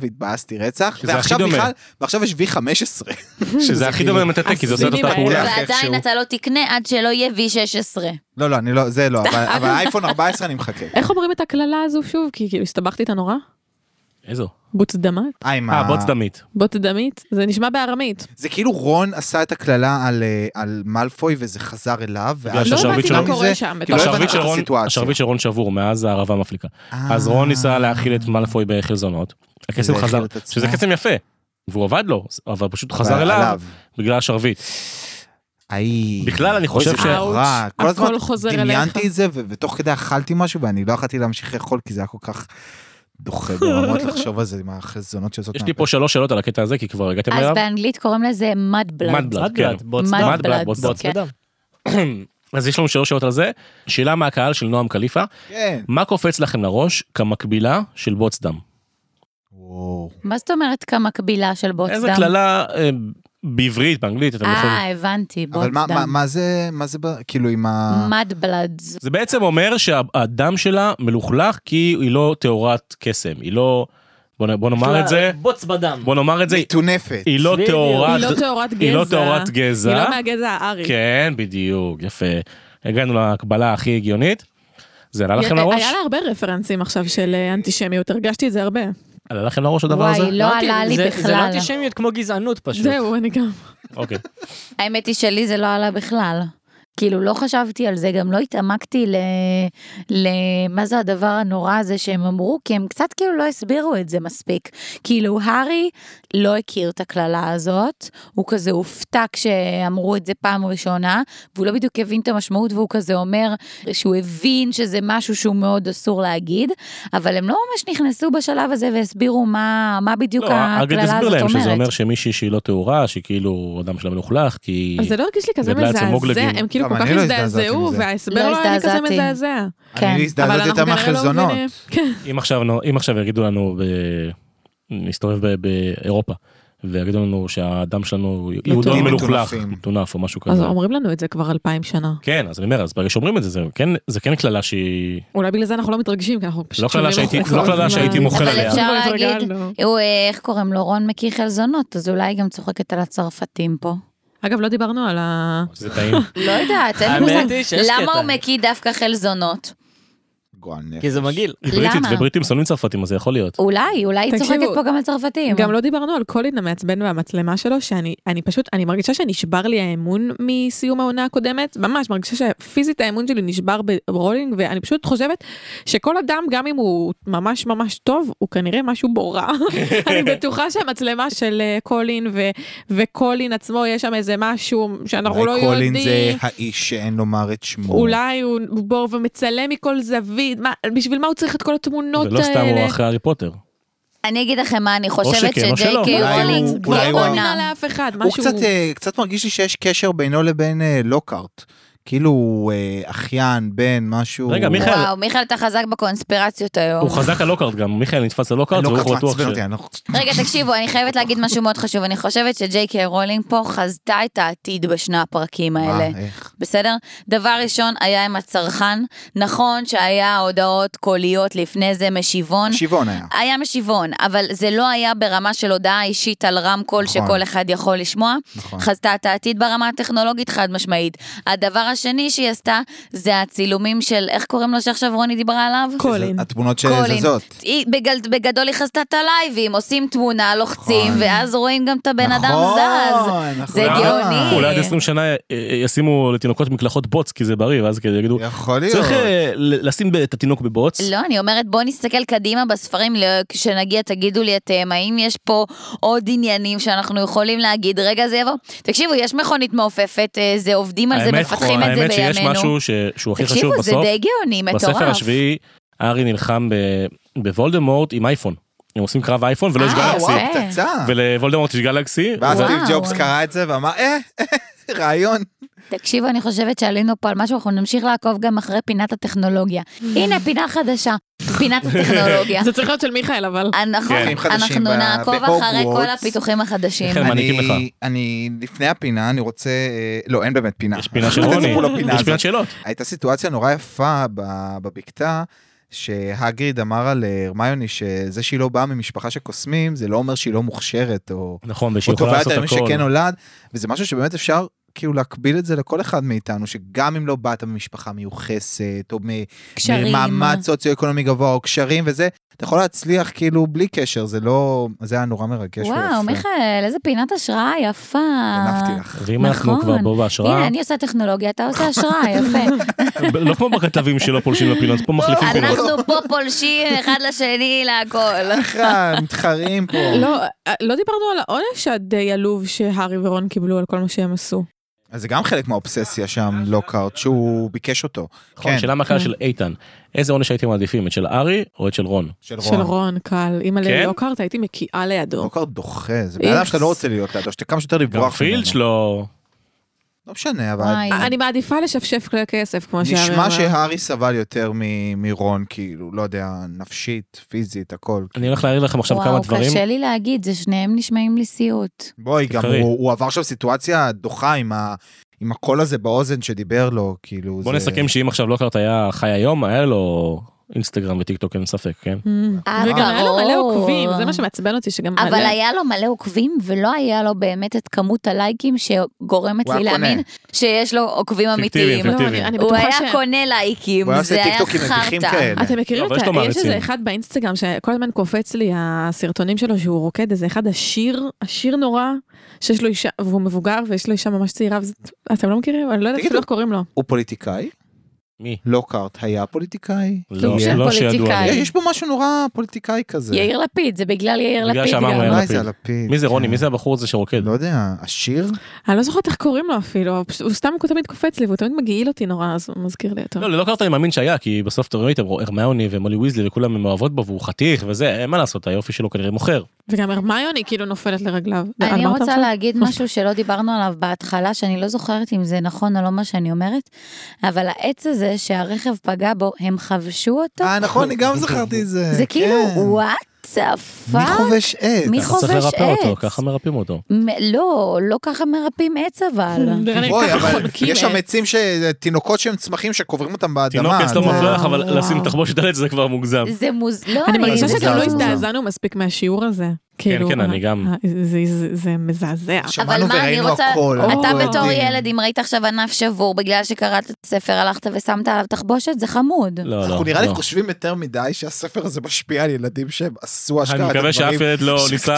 והתבאסתי רצח, שזה הכי ועכשיו דומה. בכלל, ועכשיו יש V15. שזה הכי דומה למטאטא, כי זה עושה את אותה הסינים פעולה. האלה. ועדיין איכשהו. אתה לא תקנה עד שלא יהיה V16. לא, לא, אני לא, זה לא, אבל- אבל אייפון 14 אני מחכה. איך אומרים את הקללה הזו שוב? כי כאילו הסתבכתי איתה נורא. איזו? בוץ דמת? אה, עם אה, ה- בוץ דמית. בוץ דמית? זה נשמע בארמית. זה כאילו רון עשה את הקללה על, אה, על מאלפוי וזה חזר אליו, ואז... לא הבנתי מה מזה, קורה שם, כי לא בתוך- הבנתי השרביט את של רון- הסיטואציה. השרביט של רון שבור מאז הערבה מפליקה. אה. אז רון ניסה להאכיל את מאלפוי בחלזונות. הקסם זה חזר, הכיל את עצמו. שזה קסם יפה. והוא עבד לו, אבל פשוט חזר אבל אליו בגלל השרביט. איי. בכלל, אני חושב אוי, זה ש- רע. כל הכל הזמן חוזר דמיינתי אליך. את זה, ו- ותוך כדי אכלתי משהו, ואני לא יכלתי להמשיך לאכול, כי זה היה כל כך דוחה ברמות לחשוב על זה, עם החזונות שיוצאות יש לי מהפה. פה שלוש שאלות על הקטע הזה, כי כבר הגעתם אז אליו. באנגלית קוראים לזה mud blood. Mud blood. מד בלאט, כן. בוץ מד דם. בלאט, בלאט, בוץ בוץ כן. ודם. אז יש לנו שלוש שאלות על זה. שאלה מהקהל של נועם קליפה, כן. מה קופץ לכם לראש כמקבילה של בוץ דם? וואו. מה זאת אומרת כמקבילה של בוץ איזה דם? קללה אה, בעברית, באנגלית, אתם יכולים... אה, הבנתי, בוץ אבל מה- מה- דם. מה זה, מה זה, ב- כאילו עם ה... mud blood. זה בעצם אומר שהדם שלה מלוכלך כי היא לא טהורת קסם, היא לא... בוא, נ- בוא נאמר את זה, בוץ בדם. בוא נאמר את זה, מטונפת. היא לא בדיוק. טהורת... היא לא טהורת גזע. היא לא טהורת גזע. היא לא מהגזע הארי. כן, בדיוק, יפה. הגענו להקבלה הכי הגיונית. זה עלה לכם לראש? היה לה הרבה רפרנסים עכשיו של אה, אנטישמיות, הרגשתי את זה הרבה. עלה לכם לראש הדבר הזה? וואי, לא עלה לי זה- זה לא בכלל. אנטישמיות כמו גזענות פשוט. זהו, אני גם. אוקיי. האמת היא שלי זה לא עלה בכלל. כאילו לא חשבתי על זה, גם לא התעמקתי ל... ל... מה זה הדבר הנורא הזה שהם אמרו, כי הם קצת כאילו לא הסבירו את זה מספיק. כאילו הארי לא הכיר את הקללה הזאת, הוא כזה הופתע כשאמרו את זה פעם ראשונה, והוא לא בדיוק הבין את המשמעות, והוא כזה אומר שהוא הבין שזה משהו שהוא מאוד אסור להגיד, אבל הם לא ממש נכנסו בשלב הזה והסבירו מה, מה בדיוק לא, הקללה אגד הזאת אומרת. הסביר להם שזה אומר שמישהי שהיא לא טהורה, שכאילו הדם שלה מלוכלך, כי... אז זה לא הרגיש לי כזה גדלה אצל מזעזע, מוגלגים. הם כאילו גם כל כך אני לא הזדעזעתי הזדעזעו, מזה. וההסבר לא לא היה לי כזה הזדעזעתי. מזעזע. כן. אני אבל הזדעזעתי אנחנו יותר כנראה לא מהחלזונות. מבינים. כן. אם עכשיו, נו- אם עכשיו יגידו לנו, ב... נסתובב ב... באירופה, ויגידו לנו שהדם שלנו יהודון מטונפים. מלוכלך, מטונפים. מטונף או משהו לא, אז כזה. אומרים לנו את זה כבר אלפיים שנה. כן, אז אני אומר, אז ברגע שאומרים את זה, זה כן, זה כן קללה שהיא... אולי בגלל זה אנחנו לא מתרגשים, כי אנחנו פשוט לא קללה שומעים שהייתי- כל לא קללה הזמן. שהייתי מוחל אבל עליה. אפשר כבר להגיד, התרגלנו. הוא, אה, איך קוראים לו, רון מקיא חלזונות, אז אולי היא גם צוחקת על הצרפתים פה. אגב, לא דיברנו על ה... זה טעים. לא יודעת, אין לי האמת מושג. היא שיש למה קטע. הוא מקיא דווקא חלזונות? גועל נפש. כי זה מגעיל. היא בריטית, למה? ובריטים שונאים צרפתים, אז זה יכול להיות. אולי, אולי היא תקשיבו, צוחקת פה גם על צרפתים. גם לא דיברנו על קולין המעצבן והמצלמה שלו, שאני אני פשוט, אני מרגישה שנשבר לי האמון מסיום העונה הקודמת, ממש מרגישה שפיזית האמון שלי נשבר ברולינג, ואני פשוט חושבת שכל אדם, גם אם הוא ממש ממש טוב, הוא כנראה משהו בו רע. אני בטוחה שהמצלמה של אה, קולין ו- וקולין עצמו, יש שם איזה משהו שאנחנו לא אולי יודעים. קולין זה האיש שאין לומר את שמו. אולי הוא לא- בור ומצלם מכל זווית, מה, בשביל מה הוא צריך את כל התמונות זה האלה? לא סתם הוא אחרי הארי פוטר. אני אגיד לכם מה אני חושבת שכן, או שג'יי שלא. קיי אולי רולינג הוא- הוא אולי לא הוא- אה, גאונה. מאמין לאף אחד, הוא משהו... קצת, אה, קצת מרגיש לי שיש קשר בינו לבין אה, לוקארט. כאילו הוא, אה, אחיין, בן, משהו... רגע, מיכאל, וואו, מיכאל, אתה חזק בקונספירציות היום. הוא חזק על לוקארט גם, מיכאל נתפס על לוקארט, אני לא והוא כל כך בטוח ש... מעצבן אותי, אני לא... רגע, תקשיבו, אני חייבת להגיד משהו מאוד חשוב. אני חושבת שג'יי קיי רולינג פה חזתה את העתיד בשני הפרקים מה, האלה. איך? בסדר? דבר ראשון, היה עם הצרכן. נכון שהיה הודעות קוליות לפני זה, משיבון. שיבון היה. היה משיבון, אבל זה לא היה ברמה של הודעה אישית על רמקול נכון. שכל אחד יכול לשמוע. נכון. חזתה את העתיד ברמה הטכנולוגית חד משמעית. הדבר השני שהיא עשתה זה הצילומים של, איך קוראים לו שעכשיו רוני דיברה עליו? קולין. התמונות קולין. שזזות. היא, בגל, בגדול היא חזתה את הלייבים, עושים תמונה, לוחצים, נכון. ואז רואים גם את הבן אדם נכון, זז. נכון. זה גאוני. אולי עד 20 שנה אה, אה, ישימו לתינוקות מקלחות בוץ, כי זה בריא, ואז כאילו יגידו, יכול להיות. צריך אה, ל- לשים את התינוק בבוץ. לא, אני אומרת, בוא נסתכל קדימה בספרים, ל- כשנגיע תגידו לי אתם, האם יש פה עוד עניינים שאנחנו יכולים להגיד, רגע זה יבוא. תקשיבו, יש מכונית מעופפת, אה, זה עובדים על זה, האמת- מפתחים את זה האמת שיש בימינו. משהו ש- שהוא הכי חשוב תקשיבו, זה בסוף. די גאוני, מטורף. בספר השביעי, הארי נלחם ב- בוולדמורט עם אייפון. הם עושים קרב אייפון ולא יש אה, וואו, גלקסי. יפה. פצצה. ולוולדמורט יש גלקסי. ואז זה- סטיב וואו. ג'ובס קרא את זה ואמר, אה, רעיון. תקשיבו, אני חושבת שעלינו פה על משהו, אנחנו נמשיך לעקוב גם אחרי פינת הטכנולוגיה. הנה, פינה חדשה, פינת הטכנולוגיה. זה צריך להיות של מיכאל, אבל... נכון, כן. אנחנו חדשים ב- נעקוב אחרי כל בהוגוורטס. הפיתוחים החדשים. כן, מעניקים אני- לך. אני, לפני הפינה, אני רוצה... אה, לא, אין באמת פינה. יש פינה של אל רוני. תצפו לפינה יש פינת הזאת. שאלות. הייתה סיטואציה נורא יפה ב- בבקתה, שהגריד אמר על אה, הרמיוני שזה שהיא לא באה ממשפחה של קוסמים, זה לא אומר שהיא לא מוכשרת, או... נכון, ושהיא או יכולה טובעת לעשות הימים הכל. שכן נולד, וזה משהו שבאמת אפשר כאילו להקביל את זה לכל אחד מאיתנו, שגם אם לא באת ממשפחה מיוחסת, או מ- קשרים. ממעמד סוציו-אקונומי גבוה, או קשרים וזה, אתה יכול להצליח כאילו בלי קשר, זה לא... זה היה נורא מרגש וואו, ויפה. מיכאל, איזה פינת השראה יפה. גנבתי לך. ואם אנחנו נכון. כבר בו בהשראה, הנה, אני עושה טכנולוגיה, אתה עושה השראה, יפה. לא כמו בכתבים שלא פולשים לפינות, פה מחליפים פינות. לא, אנחנו פה פולשים אחד לשני להכל. ככה, מתחרים פה. לא, אה, לא דיברנו על העונש הדי עלוב שהארי ורון קיבלו על כל מה שהם עשו. אז זה גם חלק מהאובססיה שם, לוקארט, שהוא ביקש אותו. נכון, כן. שאלה מהקהל כן. של איתן, איזה עונש הייתם מעדיפים, את של ארי או את של רון? של של רון. רון, קל. אם כן? עלי לוקארט, הייתי מקיאה לידו. לוקארט דוחה, זה בן אדם שאתה לא רוצה להיות לידו, שאתה כמה שיותר גם לברוח פילץ' לא... לא משנה, אבל... וואי. אה, אני מעדיפה לשפשף כלי כסף, כמו שהארי נשמע אמר. שהארי סבל יותר מ- מרון, כאילו, לא יודע, נפשית, פיזית, הכל. אני הולך להעיר לכם עכשיו כמה וואו, דברים. קשה לי להגיד, זה שניהם נשמעים לי סיוט. בואי, גם תבחרי. הוא, הוא עבר שם סיטואציה דוחה עם, ה, עם הקול הזה באוזן שדיבר לו, כאילו... בוא זה... נסכם שאם עכשיו לוקארט היה חי היום, היה לו אינסטגרם וטיקטוק, אין ספק, כן? Mm. אה, וגם היה לו מלא ברור. עוקבים, זה מה שמעצבן אותי, שגם... אבל עליה- היה לו מלא עוקבים, ולא היה לו באמת את כמות הלייקים שגורמת הוא לי היה קונה. להאמין שיש לו עוקבים אמיתיים. פיקטיביים. לא, אני- אני הוא בטוחה היה ש... קונה לייקים, הוא היה זה עושה היה טיקטוקים מביכים חרטא. כאלה. אתם מכירים לא, אבל יש לו את ה... יש מעריצים. איזה אחד באינסטגרם שכל הזמן קופץ לי הסרטונים שלו שהוא רוקד, איזה אחד עשיר, עשיר נורא, שיש לו אישה, והוא מבוגר ויש לו אישה ממש צעירה, וזה- אתם לא מכירים? אני לא יודעת תגידו. אפילו איך קוראים לו. הוא פוליטיקאי? מי? לוקארט היה פוליטיקאי? לא, של לא שידוע פוליטיקאי. לי. יש בו משהו נורא פוליטיקאי כזה. יאיר לפיד, זה בגלל יאיר בגלל לפיד. שאמרנו גם. יאיר אולי לפיד. זה הלפיד. מי זה רוני? כן. מי זה הבחור הזה שרוקד? לא יודע, עשיר? אני לא זוכרת איך קוראים לו אפילו, פשוט- הוא סתם תמיד קופץ לי והוא תמיד מגעיל אותי נורא, אז הוא מזכיר לי אותו. לא, ללוקארט אני מאמין שהיה, כי בסוף אתה רואה איתם הרמיוני ומולי ויזלי וכולם הם אוהבות בו והוא חתיך וזה, אין מה לעשות, היופי שלו כנראה מוכר. וגם הרמיוני כאילו נופלת לרגליו. על אני מה אתה רוצה מדבר? להגיד משהו שלא דיברנו עליו בהתחלה, שאני לא זוכרת אם זה נכון או לא מה שאני אומרת, אבל העץ הזה שהרכב פגע בו, הם חבשו אותו? אה, נכון, אני גם זכרתי את זה. זה כאילו, כן. what the מי fuck? חובש עץ? מי אתה צריך חובש לרפא אותו, עץ. ככה מרפאים אותו. מ- לא, לא ככה מרפאים עץ אבל. נראה לי בואי, ככה אבל כאילו, חונקים יש שם אה. עץ. עצים, ש- תינוקות שהם צמחים שקוברים אותם תינוק באדמה. עץ לא זה- מפריח, אבל וואו. לשים תחבושת על עץ זה כבר מוגזם. זה מוז... לא, אני מרגישה מוזר, שגם לא זה מוזר. הזדעזענו מספיק מהשיעור הזה. כאילו, כן, אני אה, גם. אה, זה- זה- זה מזעזע. אבל שמענו מה, אני וראינו רוצה, הכל. אתה אנחנו בתור יודעים. ילד, אם ראית עכשיו ענף שבור בגלל שקראת את הספר, הלכת ושמת עליו תחבושת, זה חמוד. לא, לא. אנחנו נראה לי לא. חושבים יותר מדי שהספר הזה משפיע על ילדים שהם עשו השקעה. אני מקווה שאף ילד לא ניסה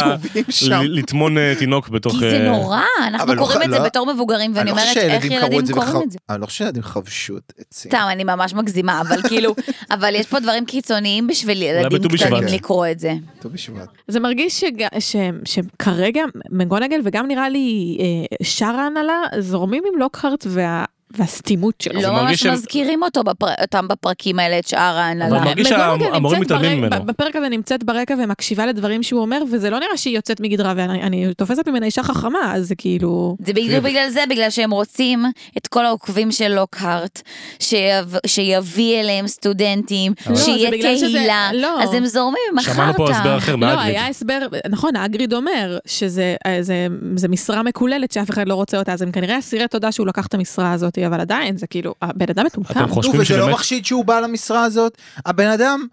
ל- לטמון אה, תינוק בתוך... כי זה אה, נורא, אנחנו אבל לא קוראים ח- את זה לא- בתור מבוגרים, ואני אומרת, איך ילדים קוראים את זה? אני לא חושב שילדים חבשו את עצים. סתם, אני ממש מגזימה, אבל כאילו, אבל יש פה דברים קיצוניים בשביל ילדים בט"ו בשבט. קטנים לקרוא את זה. ט"ו בשבט. זה מרגיש שג- ש- שכרגע מגונגל וגם נראה לי אה, שאר ההנהלה זורמים עם לוקהרט וה- והסתימות שלו. לא זה מרגיש ממש שהם- מזכירים אותו בפר- אותם בפרקים האלה, את שאר אבל ההנהלה. מרגיש בכל רגע שהמורים לא, נמצאת מתעלמים ברק- ממנו. בפרק הזה נמצאת ברקע ומקשיבה לדברים שהוא אומר, וזה לא נראה שהיא יוצאת מגדרה, ואני אני תופסת ממנה אישה חכמה, אז זה כאילו... זה בדיוק בגלל זה, בגלל שהם רוצים את כל העוקבים של לוקהרט, שיב- שיביא אליהם סטודנטים, לא, זה שיהיה בגלל שזה- קהילה, לא. אז הם זורמים עם החרטא. שמענו פה הסבר אחר לא, מאגריד. היה הסבר, נכון, האגריד אומר שזה אה, זה, זה משרה מקוללת שאף אחד לא רוצה אותה, אז הם כנראה אסירי תודה שהוא לקח את המשרה הזאת, אבל עדיין, זה כאילו, הבן אדם מטומטם. אתם חושבים נו, וזה לא שבאמת- מחשיד שהוא בא למשרה הזאת. הבן אדם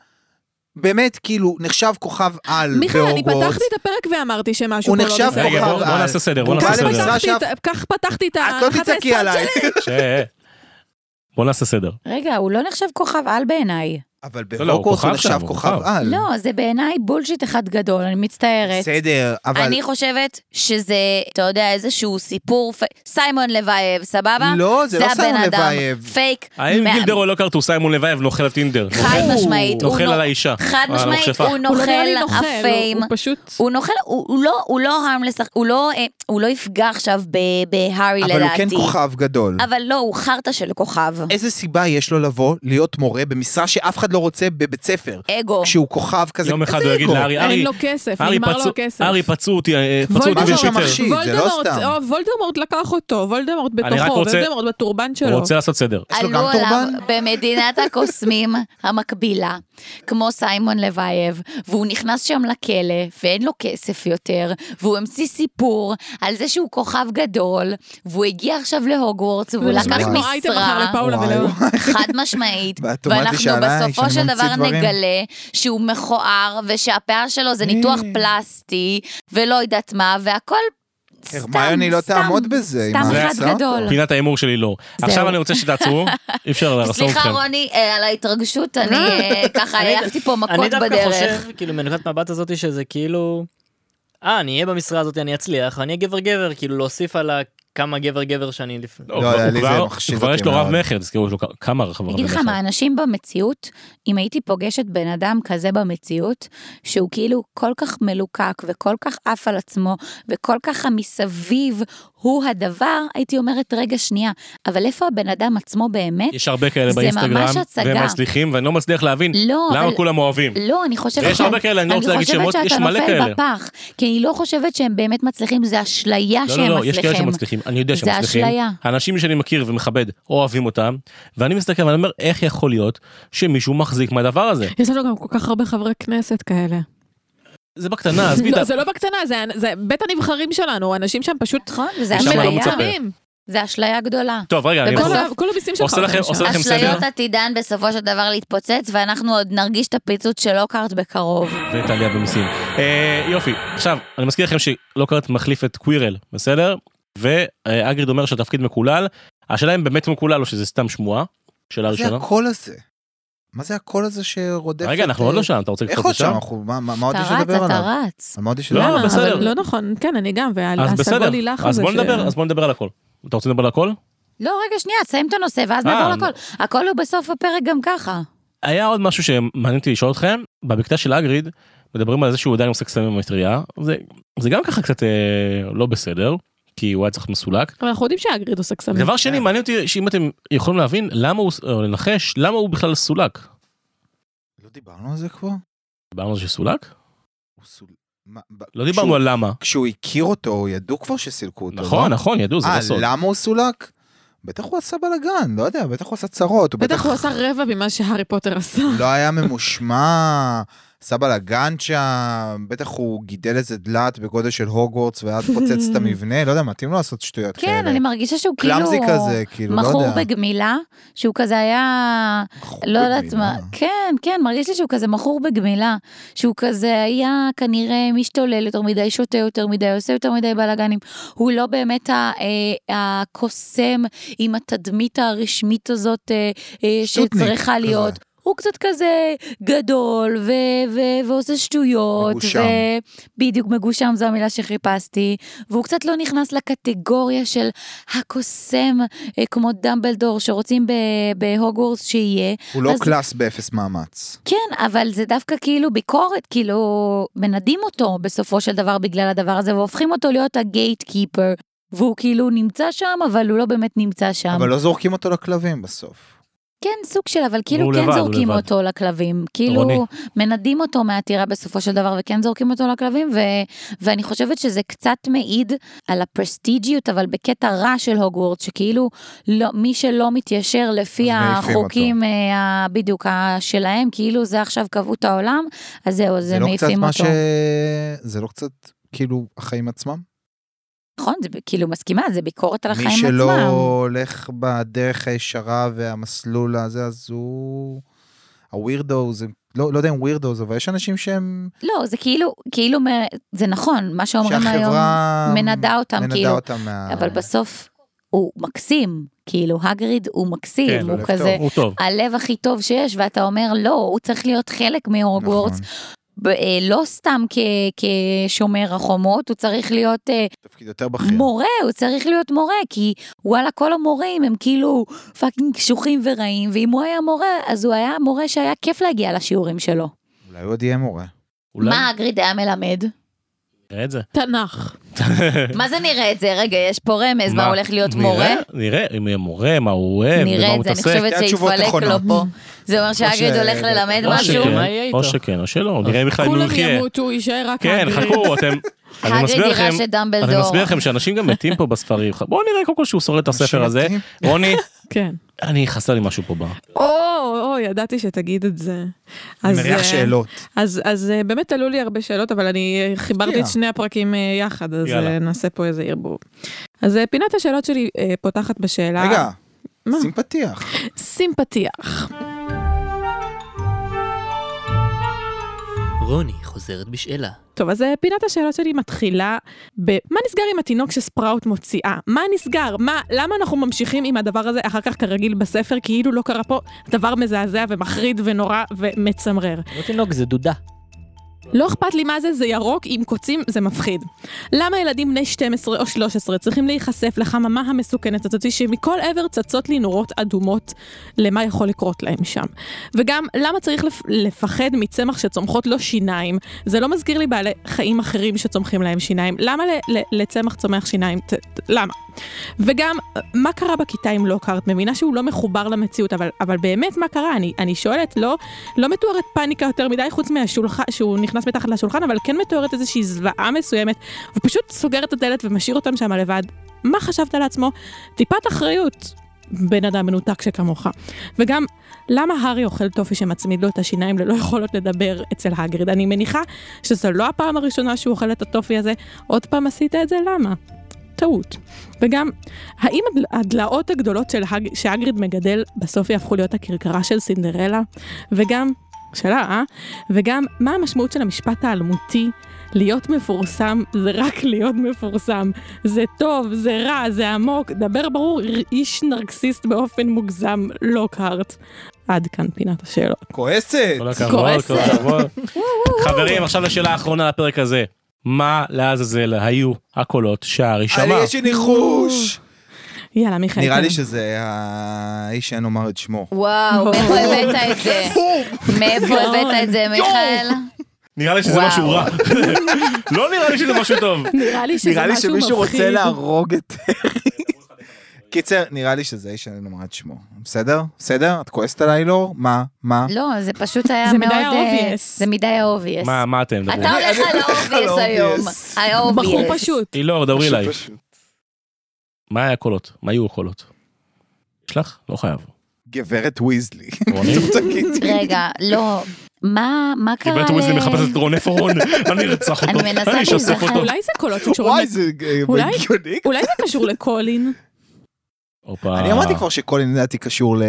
באמת כאילו נחשב כוכב על מיכאל, אני בהוגוורטס. פתחתי את הפרק ואמרתי שמשהו הוא פה לא נחשב בסדר. רגע, כוכב בוא- על. בוא נעשה סדר, בוא הוא נעשה בא סדר. למשרה פתחתי שאף... את- כך פתחתי את את לא ההנחת תצעקי היסוד עליי. ש- בוא נעשה סדר. רגע, הוא לא נחשב כוכב על בעיניי. אבל לא, הוא בהוגוורטס הוא כוכב שם, נחשב הוא כוכב כוכב. על. לא, זה בעיניי בולשיט אחד גדול, אני מצטערת. בסדר, אבל... אני חושבת שזה, אתה יודע, איזשהו סיפור, פ- סיימון לבייב, סבבה? לא, זה לא סיימון הבן אדם, לבייב. פייק. האם מה- גילדרו לא קרטו סיימון לבייב נוכל על טינדר? חד משמעית, הוא נוכל נו- על האישה. אה, חד על משמעית, המכשפה. הוא הוא לא נוכל נראה לי נוכל, הוא- הפיים. הוא פשוט... הוא נוכל, הוא הוא לא, הוא לא הרמלס, הוא לא, אה, הוא לא יפגע עכשיו ב- בהארי לדעתי. אבל הוא כן כוכב גדול. אבל לא, הוא חרטא של כוכב. איזה סיבה יש לו לבוא להיות מורה במשרה שאף אחד לא רוצה בבית ספר? אגו. כשהוא כוכב כזה... יום אחד זה הוא יגיד אגו. לארי, אין ארי, לו כסף, ארי נגמר לו פצעו- הכסף. ארי פצעו אותי, אה, פצעו אותי וולדמורט. משהו בטוויטר. שמכשיל. זה לא וולדמורט- סתם. או, וולדמורט לקח אותו, וולדמורט אני רק בתוכו, רוצה- וולדמורט בטורבן הוא שלו. רוצה לעשות סדר. יש לו עלו גם עליו טורבן? במדינת הקוסמים המקבילה, כמו סיימון לבייב, והוא נכנס שם לכלא, ואין לו כסף יותר, והוא המציא סיפור על זה שהוא כוכב גדול, והוא הגיע עכשיו להוגוורטס, והוא זה נשמע לקח לי כמו אייטם אחר משרה. לפאולה וואי, ולאון. וואי. חד משמעית, ואת אומרת לי ואנחנו שעליי, בסופו שאני של ממציא דבר דברים? נגלה שהוא מכוער, ושהפער שלו זה ניתוח אה. פלסטי, ולא יודעת מה, והכל סתם, הרמיוני לא סתם, תעמוד בזה, עם סתם ההרצאה אחד גדול. פינת ההימור שלי לא. עכשיו אני רוצה שתעצרו, אי אפשר לרסום סליחה אתכם. רוני, אה, על ההתרגשות, אני אה, ככה אני- העפתי פה אני מכות דווקא בדרך. חושב, כאילו, מנקודת מבט הזאת שזה כאילו... אה, אני אהיה במשרה הזאת, אני אצליח, אני אהיה גבר גבר, כאילו להוסיף על ה- כמה גבר גבר שאני לפני. לא, הוא לא, כבר- לי זה הוא כבר- מחשיד הוא כבר יש אותי לו רב מאוד. מכר, תזכרו, יש לו כ- כמה רב אני אגיד לך מכר. מה, אנשים במציאות, אם הייתי פוגשת בן אדם כזה במציאות, שהוא כאילו כל כך מלוקק וכל כך עף על עצמו, וכל כך המסביב הוא הדבר, הייתי אומרת, רגע, שנייה, אבל איפה הבן אדם עצמו באמת? יש הרבה כאלה זה באינסטגרם, ממש הצגה. והם מצליחים, ואני לא מצליח להבין לא, אבל... למה כולם אוהבים. לא, אני חושבת... ויש ש- הרבה כאלה, אני לא רוצה להגיד שמות, יש מלא אני חושבת כאלה. שאתה נופל בפח, כי אני לא חושבת שהם באמת מצליחים, זה אשליה לא, שהם לא, לא, מצליחים. יש כאלה שמצליחים, אני יודע זה שהם מצליחים. אשליה. האנשים שאני מכיר ומכבד אוהבים אותם, ואני מסתכל ואני אומר, איך יכול להיות שמישהו מחזיק מהדבר הזה? יש לנו גם כל כך הרבה חברי כנסת כאלה. אה, זה בקטנה, עזבי לא, את ה... זה לא בקטנה, זה- זה בית הנבחרים שלנו, אנשים שם פשוט נכון, וזה שם אני לא אשליה. מצפה. מטומטמים. זה אשליה גדולה. טוב, רגע, אני וכל כל חוזר. ה- כל המיסים שלך. עושה לכם- הולכים עושה שם. לכם אשליות סדר? עתידן בסופו של דבר להתפוצץ, ואנחנו עוד נרגיש את הפיצוץ של לוקהרט בקרוב. ואת העלייה במיסים. אה, יופי, עכשיו, אני מזכיר לכם שלוקארט מחליף את קווירל, בסדר? ואגריד אומר שהתפקיד מקולל, השאלה אם באמת מקולל או שזה סתם שמועה, שאלה זה ראשונה. הקול הזה. מה זה הקול הזה שרודף? רגע, את, אנחנו עוד אה, לא שם, אתה רוצה איך לקפוץ עוד שם? לשם? אנחנו- מה מה- מה עוד אתה יש רץ, לדבר אתה עליו? רץ. מה עוד יש לא, לדבר למה? עליו? בסדר. אבל לא נכון, כן, אני גם, אז בסדר, והסגול הילך הזה. אז בוא ש- נדבר, אז בוא נדבר על הכל. אתה רוצה לדבר על הכל? לא, רגע, שנייה, תסיים את הנושא, ואז אה, נעבור לא. לכל. הכל הוא בסוף הפרק גם ככה. היה עוד משהו שמעניין אותי לשאול אתכם, בבקתה של אגריד מדברים על זה שהוא עדיין עושה קסמים במטריה, זה, זה גם ככה קצת אה, לא בסדר, כי הוא היה צריך מסולק. אבל אנחנו יודעים שהגריד עושה קסמים. דבר כן. שני, מעניין אותי שאם אתם יכולים להבין למה הוא, או לנחש, למה הוא בכלל סולק. לא דיברנו על זה כבר? דיברנו על זה שסולק? הוא סול- מה- ב- לא כשהוא- דיברנו על למה. כשהוא הכיר אותו, ידעו כבר שסילקו אותו. נכון, לא? נכון, ידעו, זה לא סוד. אה, למה הוא סולק? בטח הוא עשה בלאגן, לא יודע, בטח הוא עשה צרות. הוא בטח הוא עשה רבע ממה שהארי פוטר עשה. לא היה ממושמע, עשה בלאגן שם, בטח הוא גידל איזה דלת בגודל של הוגוורטס ואז פוצץ את המבנה, לא יודע, מתאים לו לעשות שטויות כאלה. כן, אני מרגישה שהוא כאילו... קלאמזי כזה, כאילו, לא יודע. מכור בגמילה, שהוא כזה היה... מכור לא יודעת מה, בגמילה. כן, כן, מרגיש לי שהוא כזה מכור בגמילה, שהוא כזה היה כנראה משתולל יותר מדי, שותה יותר מדי, עושה יותר מדי בלאגנים. הוא לא באמת ה- אה, הקוסם עם התדמית הרשמית הזאת אה, אה, שטוטניק שצריכה כזה. להיות. הוא קצת כזה גדול ו- ו- ועושה שטויות. מגושם. ו- בדיוק, מגושם זו המילה שחיפשתי. והוא קצת לא נכנס לקטגוריה של הקוסם, אה, כמו דמבלדור, שרוצים ב- בהוגוורטס שיהיה. הוא לא אז- קלאס באפס מאמץ. כן, אבל זה דווקא כאילו ביקורת, כאילו מנדים אותו בסופו של דבר בגלל הדבר הזה, והופכים אותו להיות הגייט קיפר. והוא כאילו נמצא שם, אבל הוא לא באמת נמצא שם. אבל לא זורקים אותו לכלבים בסוף. כן, סוג של, אבל כאילו הוא כן לבד, הוא זורקים לבד. אותו לכלבים. כאילו, רוני. מנדים אותו מהטירה בסופו של דבר, וכן זורקים אותו לכלבים, ו... ואני חושבת שזה קצת מעיד על הפרסטיג'יות, אבל בקטע רע של הוגוורט, שכאילו, לא, מי שלא מתיישר לפי אז מעיפים החוקים, אה, ה- בדיוק, ה- שלהם, כאילו זה עכשיו קבעו את העולם, אז זהו, אז זה לא קצת מעיפים מה אותו. ש... זה לא קצת כאילו החיים עצמם? נכון, זה ב- כאילו מסכימה, זה ביקורת על החיים מי עצמם. שלא הולך בדרך הישרה והמסלול הזה, אז הוא... הווירדו, זה... לא, לא יודע אם ווירדו, אבל יש אנשים שהם... לא, זה כאילו, כאילו, מ- זה נכון, מה שאומרים היום, שהחברה... מנדה אותם, מנדה כאילו. אותם מה... אבל בסוף הוא מקסים, כאילו, הגריד הוא מקסים, כן, הוא הלב כזה טוב. הוא טוב. הלב הכי טוב שיש, ואתה אומר, לא, הוא צריך להיות חלק מהורגוורטס, נכון. ב- אה, לא סתם כ- כשומר החומות, הוא צריך להיות אה, תפקיד יותר בכיר. מורה, הוא צריך להיות מורה, כי וואלה, כל המורים הם כאילו פאקינג קשוחים ורעים, ואם הוא היה מורה, אז הוא היה מורה שהיה כיף להגיע לשיעורים שלו. אולי הוא עוד יהיה מורה. אולי מה הגריד היה מלמד? נראה את זה. תנ"ך. מה זה נראה את זה? רגע, יש פה רמז, מה מה? הולך להיות נראה- מורה? נראה, אם יהיה מורה, מה הוא אוהב, במה נראה כן, הוא את זה, אני מתעסק. חושבת שתי התשובות שהתפלק לו נכונות. פה. זה אומר שהגריד ש- הולך ללמד או משהו. שכן, מה יהיה איתו? או שכן, או שלא, נראה בכלל אם הוא כולם יחיה. ימותו, יישאר רק כן, האנגלים. חכו, אתם... אני הגריד מסביר לכם, יירש את אני דמבלדור. מסביר לכם שאנשים גם מתים פה בספרים. בואו נראה קודם כל שהוא שורד את הספר הזה. מתים. רוני, כן. אני חסר לי משהו פה ב... או, או, ידעתי שתגיד את זה. אני אז, מריח אה, שאלות. אז, אז אה, באמת עלו לי הרבה שאלות, אבל אני אה, חיברתי את יאללה. שני הפרקים אה, יחד, אז יאללה. אה, נעשה פה איזה ערבוב. אז אה, פינת השאלות שלי אה, פותחת בשאלה... רגע, מה? שים פתיח. שים פתיח. רוני חוזרת בשאלה. טוב, אז אה, פינת השאלות שלי מתחילה ב... מה נסגר עם התינוק שספראוט מוציאה? מה נסגר? מה, למה אנחנו ממשיכים עם הדבר הזה אחר כך כרגיל בספר, כאילו לא קרה פה דבר מזעזע ומחריד ונורא ומצמרר? לא תינוק, זה דודה. לא אכפת לי מה זה, זה ירוק עם קוצים, זה מפחיד. למה ילדים בני 12 או 13 צריכים להיחשף לחממה המסוכנת הזאת שמכל עבר צצות לי נורות אדומות למה יכול לקרות להם שם? וגם, למה צריך לפ- לפחד מצמח שצומחות לו שיניים? זה לא מזכיר לי בעלי חיים אחרים שצומחים להם שיניים. למה ל- ל- לצמח צומח שיניים? ת- ת- למה? וגם, מה קרה בכיתה עם לוקהרט? מבינה שהוא לא מחובר למציאות, אבל, אבל באמת מה קרה? אני, אני שואלת, לא, לא מתוארת פאניקה יותר מדי, חוץ מהשולחן, שהוא נכנס מתחת לשולחן, אבל כן מתוארת איזושהי זוועה מסוימת, הוא פשוט סוגר את הדלת ומשאיר אותם שם לבד. מה חשבת לעצמו? טיפת אחריות. בן אדם מנותק שכמוך. וגם, למה הארי אוכל טופי שמצמיד לו את השיניים ללא יכולות לדבר אצל הגריד? אני מניחה שזו לא הפעם הראשונה שהוא אוכל את הטופי הזה. עוד פעם עשית את זה? למה? טעות. וגם, האם הדל- הדלעות הגדולות של הג... שהגריד מגדל בסוף יהפכו להיות הכרכרה של סינדרלה? וגם, שאלה, אה? וגם, מה המשמעות של המשפט האלמותי? להיות מפורסם זה רק להיות מפורסם. זה טוב, זה רע, זה עמוק. דבר ברור, איש נרקסיסט באופן מוגזם, לוקהרט. עד כאן פינת השאלות. כועסת! אה, כל הכבוד, כועסת. כל הכבוד. חברים, עכשיו לשאלה האחרונה לפרק הזה. מה לעזאזל היו הקולות שהארי אני, שמע? יש לי ניחוש! יאללה, מיכאל. נראה תן. לי שזה האיש שאין לומר את שמו. וואו, מאיפה הבאת את זה? מאיפה הבאת את זה, מיכאל? נראה לי שזה וואו. משהו רע. לא נראה לי שזה משהו טוב. נראה לי שזה משהו נראה לי מפחיד. שמישהו רוצה להרוג את... קיצר, נראה לי שזה האיש שאין לומר את שמו. בסדר? בסדר? את כועסת עליי, לור? מה? מה? לא, זה פשוט היה זה מאוד... מדי אה, obvious. זה מדי ה-obvious. מה, מה אתם אתה מדברים? הולך אני על הולך על ה-obvious היום. ה-obvious. ה-obvious. בחור פשוט. אילור, דברי פשוט, אליי. פשוט. מה היה הקולות? מה היו הקולות? שלח? לא חייב. גברת ויזלי. אוקיי. רוני? תגידי. רגע, לא. מה מה קרה ל... גברת וויזלי מחפשת את רון, איפה רון? אני ארצח אותו, אני מנסה אני אשסף להיזכר. אותו. אולי זה קולות שקשורים... וואי, ל- זה אה, אולי? הגיוני. אולי זה קשור לקולין? הופה. אני אמרתי כבר שקולין לדעתי קשור ל... אה.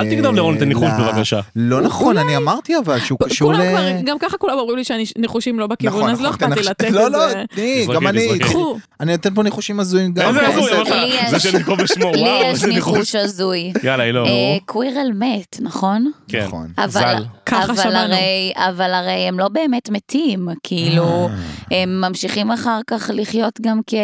אל תגנוב לרון את הניחוש אה, ל- בבקשה. לא נכון, אני אמרתי אבל שהוא קשור ל... כולם כבר, גם ככה כולם אומרים לי שהניחושים לא בכיוון, נכון, אז לא נכון, אכפת לי תנחש- לתת את לא, לא, זה. תני, תזרקי, גם אני... תזרקי. קחו. אני נותן פה ניחושים הזויים גם. איזה כן, הזוי, בסדר. אמרת, אוקיי, לי זה יש- שאני קרוב לשמו, לי וואו, יש איזה ניחוש. ניחוש הזוי. יאללה, אילור. אה, קווירל מת, נכון? כן. נכון. אבל ז"ל. ככה אבל שמענו. הרי, אבל הרי הם לא באמת מתים, אה. כאילו, הם ממשיכים אחר כך לחיות גם כ...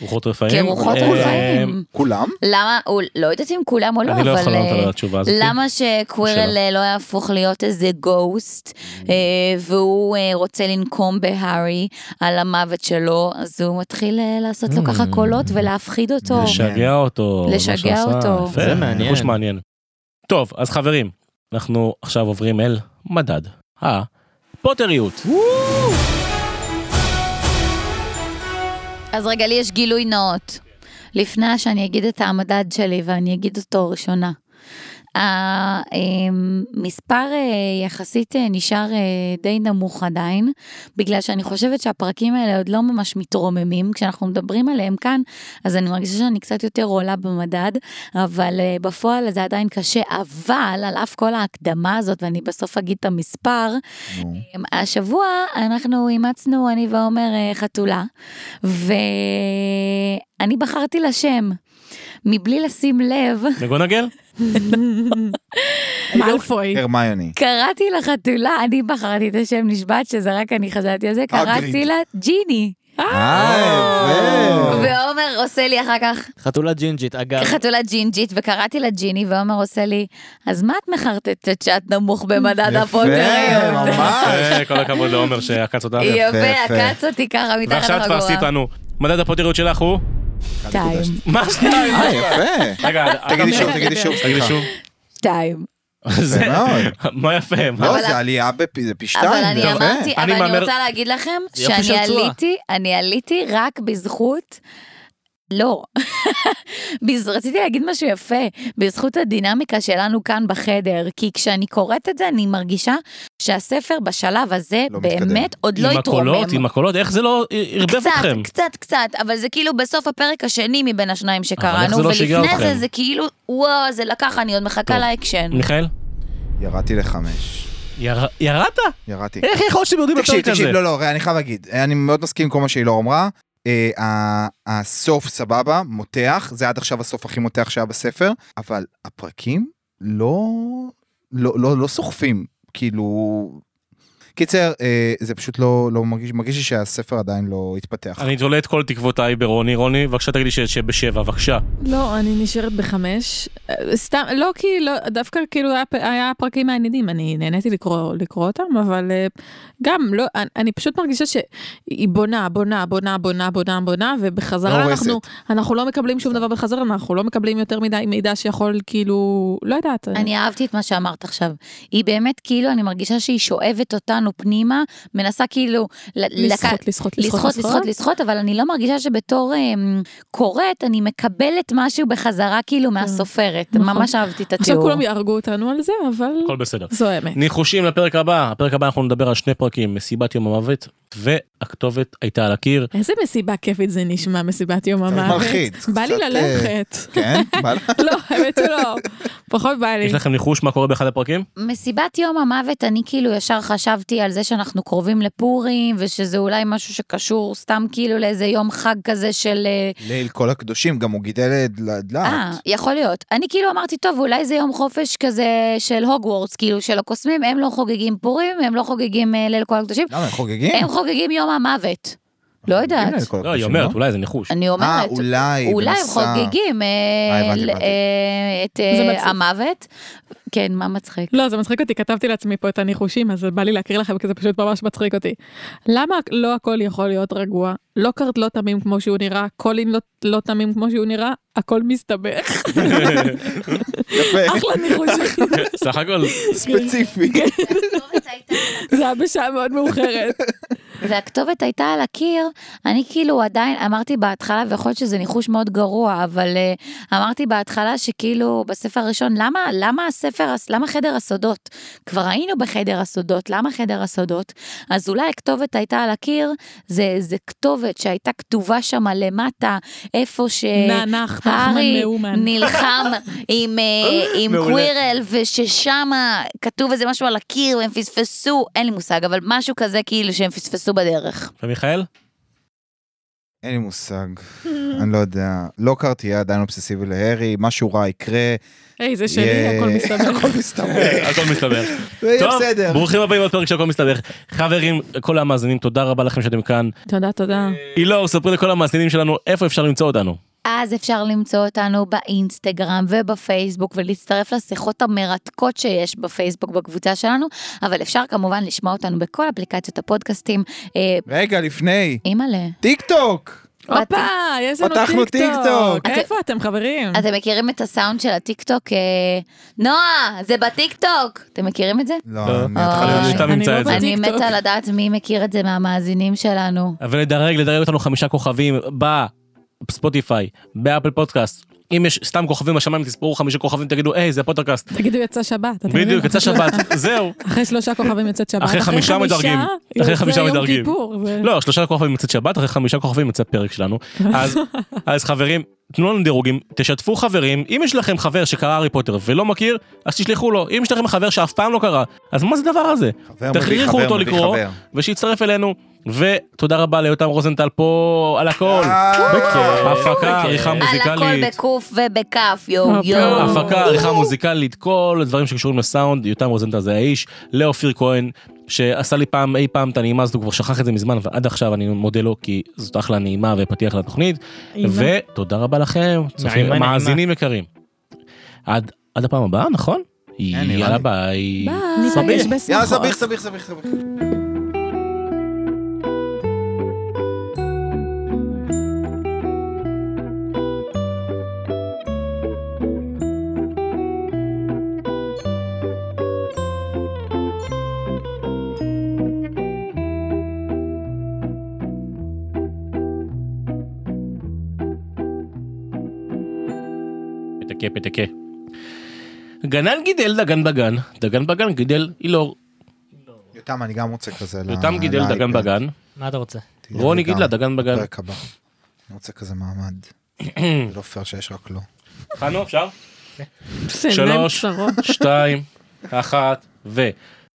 רוחות רפאים. כרוחות אה, רפאים. כולם? למה, הוא- לא יודעת אם כולם או לא, אני לא אבל... יכול לענות אה, על התשובה הזאת. למה שקווירל אה, לא יהפוך להיות איזה גוסט, אה, והוא אה, רוצה לנקום בהארי על המוות שלו, אז הוא מתחיל אה, לעשות לו Mm. ככה קולות ולהפחיד אותו. כן. לשגע אותו. מה לא? לשגע שהוא עשה. אותו. יפה, זה מעניין. ניחוש מעניין. טוב, אז חברים, אנחנו עכשיו עוברים אל מדד. הפוטריות. אז רגע, לי יש גילוי נאות. לפני שאני אגיד את המדד שלי ואני אגיד אותו ראשונה. המספר אמ, אה, יחסית אה, נשאר אה, די נמוך עדיין, בגלל שאני חושבת שהפרקים האלה עוד לא ממש מתרוממים. כשאנחנו מדברים עליהם כאן, אז אני מרגישה שאני קצת יותר עולה במדד, אבל אה, בפועל זה עדיין קשה, אבל על אף כל ההקדמה הזאת, ואני בסוף אגיד את המספר, אמ, נו. השבוע אנחנו אימצנו, אני ועומר, אה, חתולה, ואני בחרתי לה שם, מבלי לשים לב, מגונגל? מאלפוי. הרמיוני. קראתי לחתולה, אני בחרתי את השם, נשבעת שזה רק אני חשבתי על זה, קראתי אגריד. לה ג'יני. אה, יפה. ועומר עושה לי אחר כך חתולה ג'ינג'ית, אגב. חתולה ג'ינג'ית, וקראתי לה ג'יני, ועומר עושה לי, אז מה את מחרטטת שאת נמוך במדד יפה, הפוטריות? ממש. אה, כל הכבוד לעומר שעקץ אותנו. יפה, יפה. עקץ אותי ככה מתחת ועכשיו לחגורה. כבר עשית לנו. מדד הפוטריות שלך הוא? שתיים, מה שתיים? אה, יפה. רגע, תגידי אגב, שוב, תגידי שוב, תגידי סליחה. שוב. שתיים. זה- יפה מאוד. מה יפה? מה? לא, אבל- זה עלייה בפי זה פי שתיים. אבל אני יפה. אמרתי, אבל אני אני מהמר- רוצה להגיד לכם זה יופי שאני של תשואה. עליתי, אני עליתי רק בזכות... לא, בז- רציתי להגיד משהו יפה, בזכות הדינמיקה שלנו כאן בחדר, כי כשאני קוראת את זה אני מרגישה שהספר בשלב הזה לא מתקדם. באמת עוד לא עם התרומם. הקולות, עם הקולות, איך זה לא ערבב קצת, אתכם? קצת, קצת, אבל זה כאילו בסוף הפרק השני מבין השניים איך שקראנו, זה לא שיגע ולפני אתכם? זה זה כאילו, וואו, זה לקח, אני עוד מחכה טוב. לאקשן. מיכאל? ירדתי לחמש. יר- ירדת? ירדתי. איך יכול להיות שאתם יורדים תקשיב, לפרק הזה? תקשיב, לא, לא, רגע, אני חייב להגיד, אני מאוד מסכים עם כל מה שהיא לא אמרה. אה, ה- הסוף סבבה, מותח, זה עד עכשיו הסוף הכי מותח שהיה בספר, אבל הפרקים לא, לא, לא, לא סוחפים, כאילו... קיצר, אה, זה פשוט לא, לא מרגיש, מרגיש לי שהספר עדיין לא התפתח. אני תולה את כל תקוותיי ברוני. רוני, בבקשה תגידי ש- שבשבע, בבקשה. לא, אני נשארת בחמש. אה, סתם, לא כי, לא, דווקא כאילו היה, פ- היה פרקים מעניינים, אני נהניתי לקרוא, לקרוא אותם, אבל אה, גם, לא, אני, אני פשוט מרגישה שהיא בונה, בונה, בונה, בונה, בונה, בונה, ובחזרה לא אנחנו, הורסת. אנחנו לא מקבלים שום דבר בחזרה, אנחנו לא מקבלים יותר מדי מידע שיכול, כאילו, לא יודעת. אני אהבתי את מה שאמרת עכשיו. היא באמת כאילו, אני מרגישה שהיא שואבת אותנו פנימה, מנסה כאילו... ל- לק- לסחוט, לסחוט, לסחוט, לסחוט, לסחוט, אבל אני לא מרגישה שבתור אמ, קוראת, אני מקבלת משהו בחזרה כאילו מהסופרת. כן. נכון. ממש אהבתי את עכשיו התיאור. כולם יהרגו אותנו על זה, אבל הכל בסדר. זו האמת. ניחושים לפרק הבא. הפרק הבא אנחנו נדבר על שני פרקים, מסיבת יום המוות, והכתובת הייתה על הקיר. איזה מסיבה כיפית זה נשמע, מסיבת יום המוות. מלחיץ, בא לי קצת, אה, ללכת. כן? בא לך? לא, האמת שלא. פחות בא לי. יש לכם ניחוש מה קורה באחד הפרקים? מסיבת יום המוות, אני כאילו ישר חשבתי על זה שאנחנו קרובים לפורים, ושזה אולי משהו שקשור סתם כאילו לאיזה יום חג כזה של... אה, ליל כל הקדושים, גם הוא גידל את אה, לדעת. יכול להיות. אני כאילו אמרתי, טוב, אולי זה יום חופש כזה של הוגוורטס, כאילו של הקוסמים, הם לא חוגגים פורים, הם לא חוגגים אה, ליל כל הקדושים, למה, הם חוגגים? הם חוגגים יום המוות. לא יודעת. חוגגים ליל כל לא, היא הקדושים, אומרת, אולי זה ניחוש. אני אה, אומרת, אולי, אולי הם בנוסף. חוגגים אה, אה, הבנתי, ל- הבנתי. אה, את אה, זה מצחיק. המוות. כן, מה מצחיק? לא, זה מצחיק אותי, כתבתי לעצמי פה את הניחושים, אז בא לי להקריא לכם, כי זה פשוט ממש מצחיק אותי. למה לא הכל יכול להיות רגוע? לוקארט לא תמים כמו שהוא נראה, קולין לא, לא תמים כמו שהוא נראה, הכל מסתבך. יפה, אחלה ניחושים. סך הכל, אוקיי. ספציפי. זה היה בשעה מאוד מאוחרת. והכתובת הייתה על הקיר, אני כאילו עדיין אמרתי בהתחלה, ויכול להיות שזה ניחוש מאוד גרוע, אבל uh, אמרתי בהתחלה שכאילו בספר הראשון, למה, למה הספר, הס- למה חדר הסודות? כבר היינו בחדר הסודות, למה חדר הסודות? אז אולי הכתובת הייתה על הקיר, זה, זה כתובת שהייתה כתובה שם למטה, איפה ש... נענך, נחמן אה, הארי מאומן. נלחם עם, אה, עם מעולה. קווירל, וששם כתוב איזה משהו על הקיר, והם פספסו, אין לי מושג, אבל משהו כזה כאילו שהם פספסו בדרך. ומיכאל? אין לי מושג. אני לא יודע, לוקארט יהיה עדיין אובססיבי להרי, משהו רע יקרה. היי, זה שלי, יהיה- הכל מסתבר. הכל מסתבך. הכל מסתבר. זה יהיה טוב, בסדר. ברוכים הבאים לפרק של הכל מסתבך. חברים, כל המאזינים, תודה רבה לכם שאתם כאן. תודה, תודה. אילור, ספרי לכל המאזינים שלנו איפה אפשר למצוא אותנו. אז אפשר למצוא אותנו באינסטגרם ובפייסבוק ולהצטרף לשיחות המרתקות שיש בפייסבוק בקבוצה שלנו, אבל אפשר כמובן לשמוע אותנו בכל אפליקציות הפודקאסטים. אה, רגע, לפני, אימא'לה. טיק טוק! הופה, יש לנו פתחנו טיקטוק. טיקטוק. איפה אתם, חברים? אתם מכירים את הסאונד של הטיקטוק? אה, נועה, זה בטיקטוק! אתם מכירים את זה? לא, אני אה, התחלתי... אתה אני ממצא לא את זה. אני בטיקטוק. מתה לדעת מי מכיר את זה מהמאזינים שלנו. ולדרג, לדרג אותנו חמישה כוכבים בספוטיפיי, באפל פודקאסט. אם יש סתם כוכבים השמיים, תספרו חמישה כוכבים, תגידו, היי, זה הפודקאסט. תגידו, יצא שבת. אתם יודעים, בדיוק, יצא אחרי- שבת, זהו. אחרי שלושה כוכבים יוצאת שבת. אחרי חמישה מדרגים. אחרי יוצא חמישה יום מדרגים. כיפור, ו- לא, שלושה כוכבים יוצאת שבת, אחרי חמישה כוכבים יוצא פרק שלנו. אז, אז חברים, תנו לנו דירוגים, תשתפו חברים. אם יש לכם חבר שקרא הארי פוטר ולא מכיר, אז תשלחו לו. אם יש לכם חבר שאף פעם לא קרא, אז מה זה הדבר הזה? חבר מביא תכריחו חבר אותו מביא לקרוא, חבר. ושיצטרף אלינו. ותודה רבה ליותם רוזנטל פה על הכל. אה, הפקה, עריכה על הכל מוזיקלית. בקוף ובכף, יואו יואו. הפקה, עריכה מוזיקלית, כל הדברים שקשורים לסאונד, יותם רוזנטל זה האיש, לאופיר כהן, שעשה לי פעם, אי פעם את הנעימה הזאת, הוא כבר שכח את זה מזמן, ועד עכשיו אני מודה לו, כי זאת אחלה נעימה ופתיח לתוכנית, אימא. ותודה רבה לכם, צופים, נעימה, נעימה. מאזינים יקרים. עד עד הפעם הבאה, נכון? נראה יאללה לי. ביי. ביי. סביח. יש יאללה, בשמחות. סביח, סביח, סביח, סביח. פתקה, פתקה. גנן גידל דגן בגן, דגן בגן גידל אילור, יותם, אני גם רוצה כזה. ל- יותם גידל לאייפד. דגן בגן, מה אתה רוצה? תדאג רוני לי גם. גידלה דגן בגן. פרק הבא. אני רוצה כזה מעמד. זה לא פייר שיש רק לו. חנו, אפשר? עיניים שלוש, קצרות. שתיים, אחת, ו...